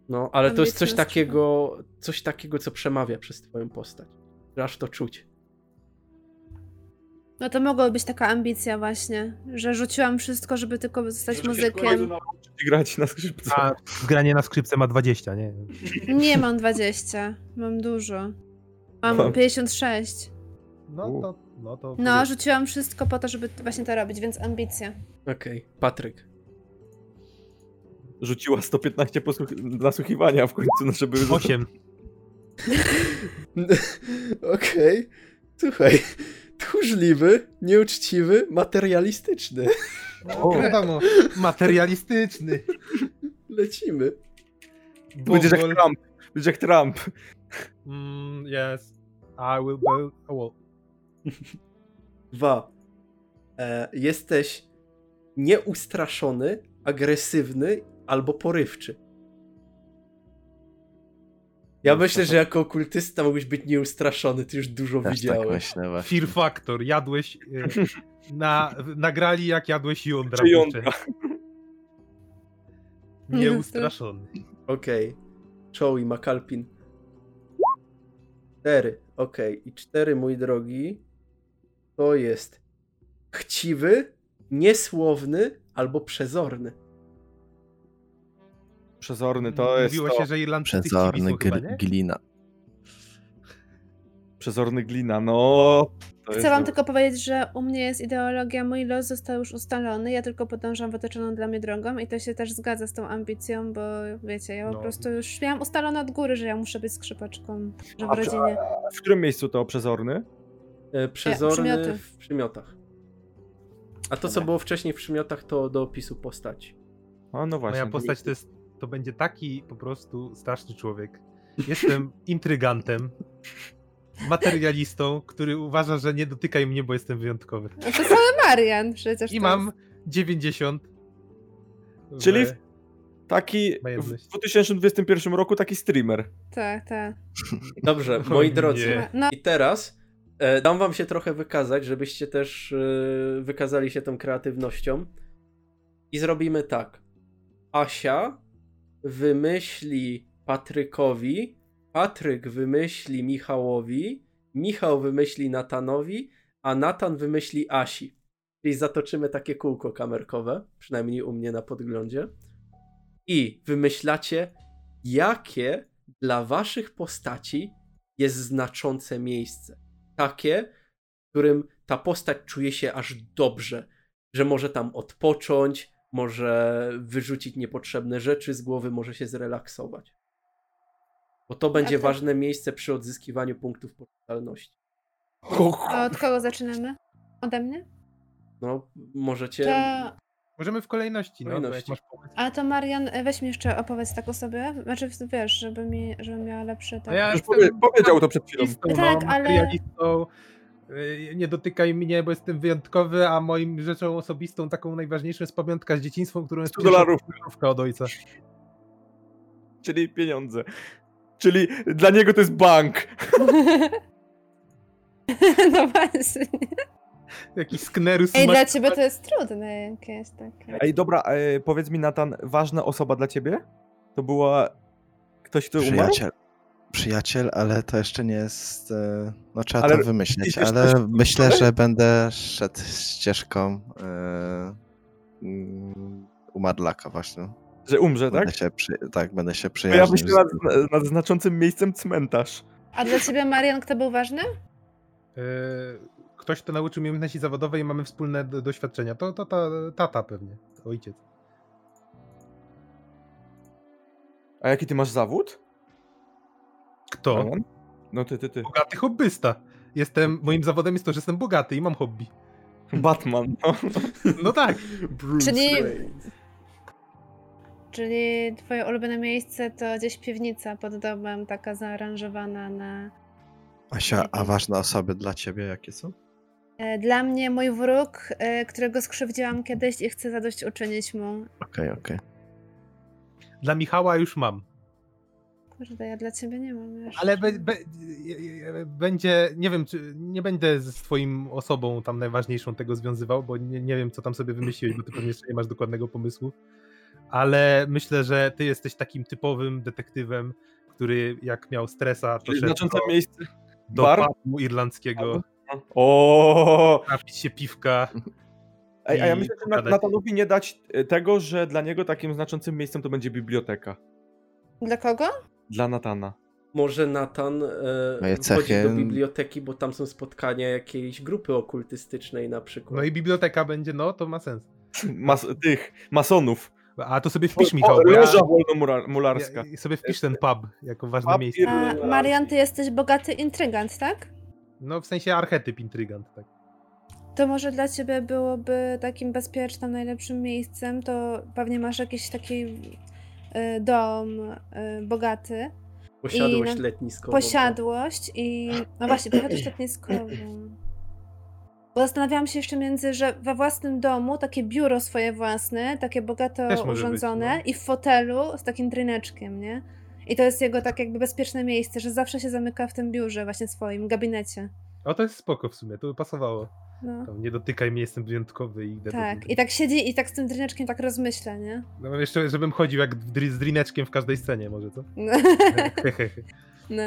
Speaker 1: No, ale to jest
Speaker 4: Ambitna
Speaker 1: coś
Speaker 4: skrzypa.
Speaker 1: takiego, coś takiego, co przemawia przez twoją postać. Aż to czuć.
Speaker 4: No to mogła być taka ambicja właśnie, że rzuciłam wszystko, żeby tylko zostać muzykiem.
Speaker 3: I grać na skrzypce.
Speaker 2: A granie na skrzypce ma 20, nie?
Speaker 4: Nie mam 20, mam dużo.
Speaker 3: Mam.
Speaker 4: Mam 56.
Speaker 2: No to, no to...
Speaker 4: No, rzuciłam wszystko po to, żeby właśnie to robić, więc ambicja.
Speaker 1: Okej, Patryk.
Speaker 3: Rzuciła 115 posłuch- nasłuchiwania w końcu, no żeby...
Speaker 2: 8.
Speaker 1: Okej. Słuchaj. Tchórzliwy, nieuczciwy, materialistyczny.
Speaker 2: O, wiadomo, materialistyczny.
Speaker 1: Lecimy.
Speaker 2: tak
Speaker 3: Będziesz jak Trump. Będziesz jak Trump.
Speaker 2: Mm, yes. I will go... oh, O,
Speaker 1: Dwa. E, jesteś nieustraszony, agresywny albo porywczy. Ja myślę, że jako okultysta mógłbyś być nieustraszony, ty już dużo
Speaker 7: Też tak
Speaker 1: widziałeś.
Speaker 7: myślę właśnie.
Speaker 2: Fear Factor, jadłeś... y, Na, w- nagrali jak jadłeś jądra.
Speaker 3: Czy jądra.
Speaker 2: kurczę. Nieustraszony.
Speaker 1: Okej. Joey McAlpin. Cztery. Okej. I cztery, mój drogi, to jest chciwy, niesłowny albo przezorny.
Speaker 3: Przezorny to jest
Speaker 2: Mówiło
Speaker 3: to.
Speaker 2: się, że Irlandczycy
Speaker 7: Przezorny
Speaker 2: kibicu chyba,
Speaker 7: gr-
Speaker 2: nie?
Speaker 7: glina.
Speaker 3: Przezorny glina, no. To jest
Speaker 4: Chcę wam
Speaker 3: dobre.
Speaker 4: tylko powiedzieć, że u mnie jest ideologia, mój los został już ustalony, ja tylko podążam wytyczoną dla mnie drogą i to się też zgadza z tą ambicją, bo wiecie, ja po
Speaker 2: No.
Speaker 4: prostu już miałam ustalone od góry, że ja muszę być skrzypaczką, że w
Speaker 3: A, czy-
Speaker 4: rodzinie.
Speaker 3: W którym miejscu to przezorny?
Speaker 1: E, Przezorny
Speaker 4: przymioty.
Speaker 1: w przymiotach. A to, co było wcześniej w przymiotach, to do opisu postaci.
Speaker 3: A no właśnie.
Speaker 2: Moja postać to jest, to będzie taki po prostu straszny człowiek. Jestem intrygantem, materialistą, który uważa, że nie dotykaj mnie, bo jestem wyjątkowy.
Speaker 4: No to cały Marian przecież.
Speaker 2: I
Speaker 4: to
Speaker 2: mam
Speaker 4: jest.
Speaker 2: 90.
Speaker 3: Czyli
Speaker 2: w...
Speaker 3: Taki
Speaker 2: Ma
Speaker 3: w
Speaker 2: jedność.
Speaker 3: 2021 roku taki streamer.
Speaker 4: Tak, tak.
Speaker 1: Dobrze,
Speaker 2: O
Speaker 1: moi
Speaker 2: nie.
Speaker 1: drodzy.
Speaker 4: No,
Speaker 1: I teraz e, dam wam się trochę wykazać, żebyście też e, wykazali się tą kreatywnością. I zrobimy tak. Asia wymyśli Patrykowi, Patryk wymyśli Michałowi, Michał wymyśli Natanowi, a Natan wymyśli Asi. Czyli zatoczymy takie kółko kamerkowe, przynajmniej u mnie na podglądzie. I wymyślacie, jakie dla waszych postaci jest znaczące miejsce. Takie, w którym ta postać czuje się aż dobrze, że może tam odpocząć, może wyrzucić niepotrzebne rzeczy z głowy, może się zrelaksować. Bo to będzie
Speaker 4: to-
Speaker 1: ważne miejsce przy odzyskiwaniu punktów poczytalności.
Speaker 4: A od kogo zaczynamy? Ode mnie?
Speaker 1: No, możecie.
Speaker 4: To,
Speaker 2: Możemy w kolejności, no, bo jak
Speaker 1: Kolejności.
Speaker 2: masz pomysł.
Speaker 4: a to Marian, e, weź mi jeszcze opowiedz tak o sobie. Znaczy, wiesz, żeby mi, żebym miała lepsze... Tak.
Speaker 2: No ja-
Speaker 3: Już powie, powiedział to przed chwilą.
Speaker 2: Listą,
Speaker 4: Tak,
Speaker 2: no,
Speaker 4: ale-
Speaker 2: materialistą. y, Nie dotykaj mnie, bo jestem wyjątkowy, a moim rzeczą osobistą, taką najważniejszą jest pamiątka z dzieciństwa, którą jest
Speaker 3: 100 dolarów,
Speaker 2: pierwsza od ojca.
Speaker 3: czyli pieniądze. Czyli dla niego to jest bank.
Speaker 4: tak. no właśnie.
Speaker 2: Jakiś sknerus.
Speaker 4: Ej,
Speaker 2: ma-
Speaker 4: dla ciebie to jest trudne jakieś takie.
Speaker 3: Ej, dobra, e, powiedz mi, Natan, ważna osoba dla ciebie? To była ktoś, kto umarł?
Speaker 7: Przyjaciel. Przyjaciel, ale to jeszcze nie jest. e, No trzeba
Speaker 3: Ale
Speaker 7: to wymyśleć,
Speaker 3: idziesz
Speaker 7: ale
Speaker 3: też-
Speaker 7: myślę, że będę szedł ścieżką e, mm, umarlaka właśnie.
Speaker 3: Że umrze, tak?
Speaker 7: Będę się przy, tak, będę się
Speaker 3: To Ja
Speaker 7: przyjaźnił.
Speaker 3: myślę nad, nad znaczącym miejscem cmentarz.
Speaker 4: A dla ciebie, Marian, kto był ważny?
Speaker 2: Y, Ktoś, kto nauczył mnie umiejętności zawodowej i mamy wspólne d- doświadczenia. To, to ta, tata pewnie, ojciec.
Speaker 3: A jaki ty masz zawód?
Speaker 2: Kto?
Speaker 3: Roman? No ty, ty, ty.
Speaker 2: Bogaty hobbysta. Jestem, moim zawodem jest to, że jestem bogaty i mam hobby.
Speaker 3: Batman. No.
Speaker 2: No tak,
Speaker 1: Bruce
Speaker 4: Czyli-
Speaker 1: Wayne.
Speaker 4: Czyli twoje ulubione miejsce to gdzieś piwnica pod domem, taka zaaranżowana na...
Speaker 7: Asia, a ważne osoby dla ciebie jakie są?
Speaker 4: E, Dla mnie mój wróg, e, którego skrzywdziłam kiedyś i chcę zadośćuczynić mu.
Speaker 7: Okej, okej.
Speaker 2: dla Michała już mam.
Speaker 4: Kurde, ja dla ciebie nie mam jeszcze.
Speaker 2: Ale be, be, je- je- będzie, nie wiem, czy nie będę z twoim osobą tam najważniejszą tego związywał, bo nie, nie wiem, co tam sobie wymyśliłeś, bo ty pewnie jeszcze nie masz dokładnego pomysłu. Ale myślę, że ty jesteś takim typowym detektywem, który jak miał stresa, to
Speaker 3: Czyli
Speaker 2: szedł
Speaker 3: znaczące
Speaker 2: do,
Speaker 3: miejsce.
Speaker 2: do
Speaker 3: bar?
Speaker 2: pubu irlandzkiego,
Speaker 3: O!
Speaker 2: trafić się piwka.
Speaker 3: Mhm. Ej, a ja
Speaker 2: I
Speaker 3: myślę, że
Speaker 2: pogadać.
Speaker 3: Natanowi nie dać e, tego, że dla niego takim znaczącym miejscem to będzie biblioteka.
Speaker 4: Dla kogo?
Speaker 3: Dla Natana.
Speaker 1: Może Natan e,
Speaker 7: Moje
Speaker 1: wchodzi do
Speaker 7: cechy-
Speaker 1: biblioteki, bo tam są spotkania jakiejś grupy okultystycznej na przykład.
Speaker 2: No i biblioteka będzie, no to ma sens.
Speaker 3: Mas tych masonów.
Speaker 2: A to sobie wpisz,
Speaker 3: O,
Speaker 2: Michał.
Speaker 3: o,
Speaker 2: bo ja-
Speaker 3: Róża wolnomularska.
Speaker 2: ja, sobie wpisz ten pub jako ważne
Speaker 3: Pub
Speaker 2: miejsce.
Speaker 3: i-
Speaker 4: A, Marian, ty jesteś bogaty intrygant, tak?
Speaker 2: No w sensie archetyp intrygant. Tak.
Speaker 4: To może dla ciebie byłoby takim bezpiecznym, najlepszym miejscem, to pewnie masz jakiś taki y, dom y, bogaty,
Speaker 1: Posiadłość
Speaker 4: i na-
Speaker 1: letniskową.
Speaker 4: posiadłość i... No właśnie, posiadłość letniskową. Bo zastanawiałam się jeszcze między, że we własnym domu takie biuro swoje własne, takie bogato
Speaker 2: Też może być,
Speaker 4: urządzone
Speaker 2: no.
Speaker 4: i w fotelu z takim tryneczkiem, nie? I to jest jego tak jakby bezpieczne miejsce, że zawsze się zamyka w tym biurze właśnie swoim, gabinecie.
Speaker 2: O, to jest spoko w sumie, to by pasowało.
Speaker 4: No.
Speaker 2: Tam, nie dotykaj mnie, jestem wyjątkowy i idę. do
Speaker 4: Tak,
Speaker 2: góry.
Speaker 4: i tak siedzi i tak z tym dryneczkiem tak rozmyśla, nie?
Speaker 2: No jeszcze, żebym chodził jak w dri- z drineczkiem w każdej scenie może, co?
Speaker 4: No,
Speaker 2: Hehehe.
Speaker 4: no.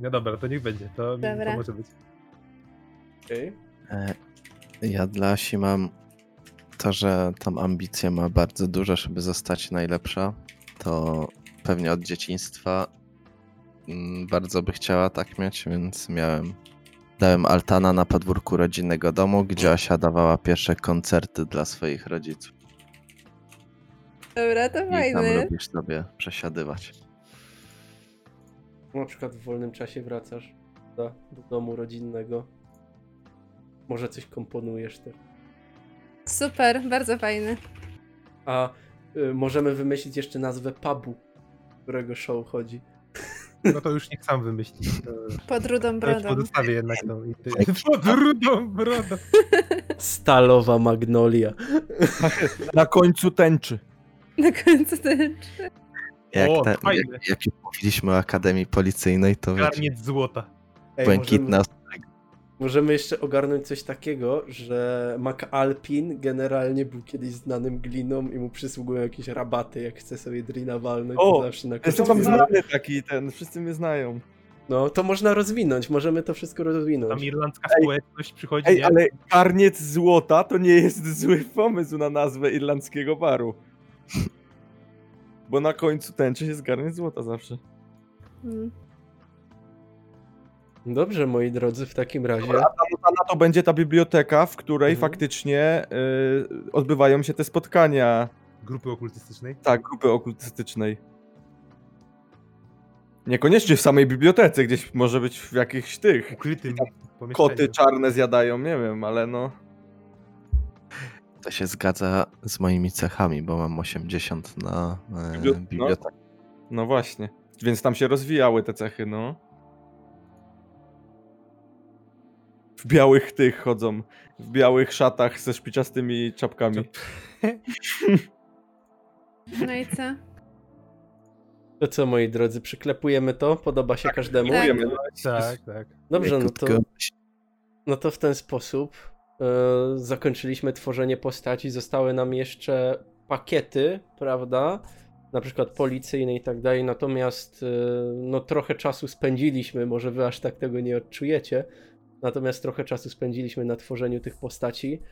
Speaker 2: no dobra, to niech będzie, to, mi- to
Speaker 4: Dobra.
Speaker 2: może być.
Speaker 1: Okej.
Speaker 7: E, Ja dla Asi mam to, że tam ambicja ma bardzo duże, żeby zostać najlepsza. To pewnie od dzieciństwa mm, bardzo by chciała tak mieć, więc miałem. Dałem altana na podwórku rodzinnego domu, gdzie Asia dawała pierwsze koncerty dla swoich rodziców.
Speaker 4: Dobra, to
Speaker 7: I tam
Speaker 4: fajny.
Speaker 7: lubisz sobie przesiadywać.
Speaker 1: Na przykład w wolnym czasie wracasz do, do domu rodzinnego. Może coś komponujesz też.
Speaker 4: Super, bardzo fajny.
Speaker 1: A y, możemy wymyślić jeszcze nazwę pubu, którego show chodzi.
Speaker 2: No to już niech sam wymyśli. To-
Speaker 4: Pod rudą
Speaker 2: To już
Speaker 4: brodą.
Speaker 2: pozostawię jednak tą intrygę. Pod rudą brodą.
Speaker 1: Stalowa magnolia.
Speaker 3: Na końcu tęczy.
Speaker 4: Na końcu ten
Speaker 7: Jak,
Speaker 2: O,
Speaker 7: te,
Speaker 2: fajne.
Speaker 7: jak, jak już mówiliśmy o Akademii Policyjnej, to wiecie,
Speaker 2: Garniec złota.
Speaker 7: błękitna
Speaker 1: Możemy jeszcze ogarnąć coś takiego, że McAlpin generalnie był kiedyś znanym gliną i mu przysługują jakieś rabaty, jak chce sobie drina walnąć,
Speaker 3: O,
Speaker 1: to zawsze na
Speaker 3: Jestem
Speaker 1: końcu.
Speaker 3: tam
Speaker 1: jest-
Speaker 3: znany taki ten, wszyscy mnie znają.
Speaker 1: No, to można rozwinąć, możemy to wszystko
Speaker 2: Tam
Speaker 1: rozwinąć.
Speaker 2: irlandzka
Speaker 3: Ej.
Speaker 2: społeczność przychodzi,
Speaker 3: Ej,
Speaker 2: nie?
Speaker 3: ale karniec złota to nie jest zły pomysł na nazwę irlandzkiego baru. Bo na końcu tęczy jest garniec złota zawsze.
Speaker 4: Mm.
Speaker 1: Dobrze, moi drodzy, w takim razie.
Speaker 3: Dobra, A na to będzie ta biblioteka, w której
Speaker 1: Mhm.
Speaker 3: faktycznie y, odbywają się te spotkania
Speaker 2: grupy okultystycznej?
Speaker 3: Tak, grupy okultystycznej. Niekoniecznie w samej bibliotece, gdzieś może być w jakichś tych.
Speaker 2: Ukrytym pomieszczeniu.
Speaker 3: Koty czarne zjadają, nie wiem, ale no.
Speaker 7: To się zgadza z moimi cechami, bo mam 80 na e,
Speaker 3: Bibliot- no.
Speaker 7: bibliotekę.
Speaker 3: No właśnie. Więc tam się rozwijały te cechy, no. W białych tych chodzą. W białych szatach ze szpiczastymi czapkami.
Speaker 4: No i co?
Speaker 1: To co, moi drodzy, przyklepujemy to? Podoba się każdemu?
Speaker 4: Tak.
Speaker 3: Mówimy, no,
Speaker 2: Tak, tak.
Speaker 1: Dobrze, no
Speaker 7: Krótko.
Speaker 1: to, no to w ten sposób e, zakończyliśmy tworzenie postaci. Zostały nam jeszcze pakiety, prawda? Na przykład policyjne i tak dalej. Natomiast e, no trochę czasu spędziliśmy, może wy aż tak tego nie odczujecie. Natomiast trochę czasu spędziliśmy na tworzeniu tych postaci.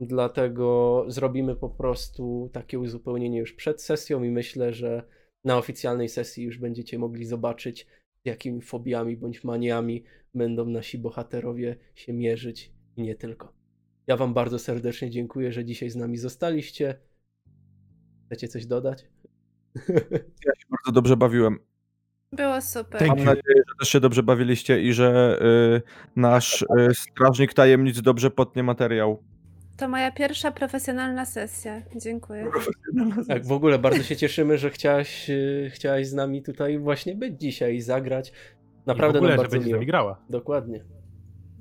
Speaker 1: Dlatego zrobimy po prostu takie uzupełnienie już przed sesją i myślę, że na oficjalnej sesji już będziecie mogli zobaczyć, z jakimi fobiami bądź maniami będą nasi bohaterowie się mierzyć i nie tylko. Ja Wam bardzo serdecznie dziękuję, że dzisiaj z nami zostaliście. Chcecie coś dodać?
Speaker 3: Ja się bardzo dobrze bawiłem.
Speaker 4: Było super.
Speaker 2: Thank
Speaker 3: Mam
Speaker 2: you.
Speaker 3: nadzieję, że też się dobrze bawiliście i że y, nasz y, strażnik tajemnic dobrze potnie materiał.
Speaker 4: To moja pierwsza profesjonalna sesja. Dziękuję.
Speaker 1: Tak, w ogóle bardzo się cieszymy, że chciałaś, yy, chciałaś z nami tutaj właśnie być dzisiaj i zagrać.
Speaker 2: I w
Speaker 1: Naprawdę
Speaker 2: ogóle,
Speaker 1: nam
Speaker 2: że
Speaker 1: bardzo
Speaker 2: będzie z
Speaker 1: miło.
Speaker 2: nami grała.
Speaker 1: Dokładnie.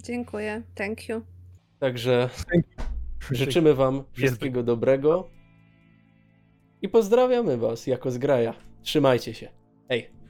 Speaker 4: Dziękuję. Thank you.
Speaker 1: Także życzymy Wam wszystkiego dobrego i pozdrawiamy Was jako zgraja. Trzymajcie się. Hej.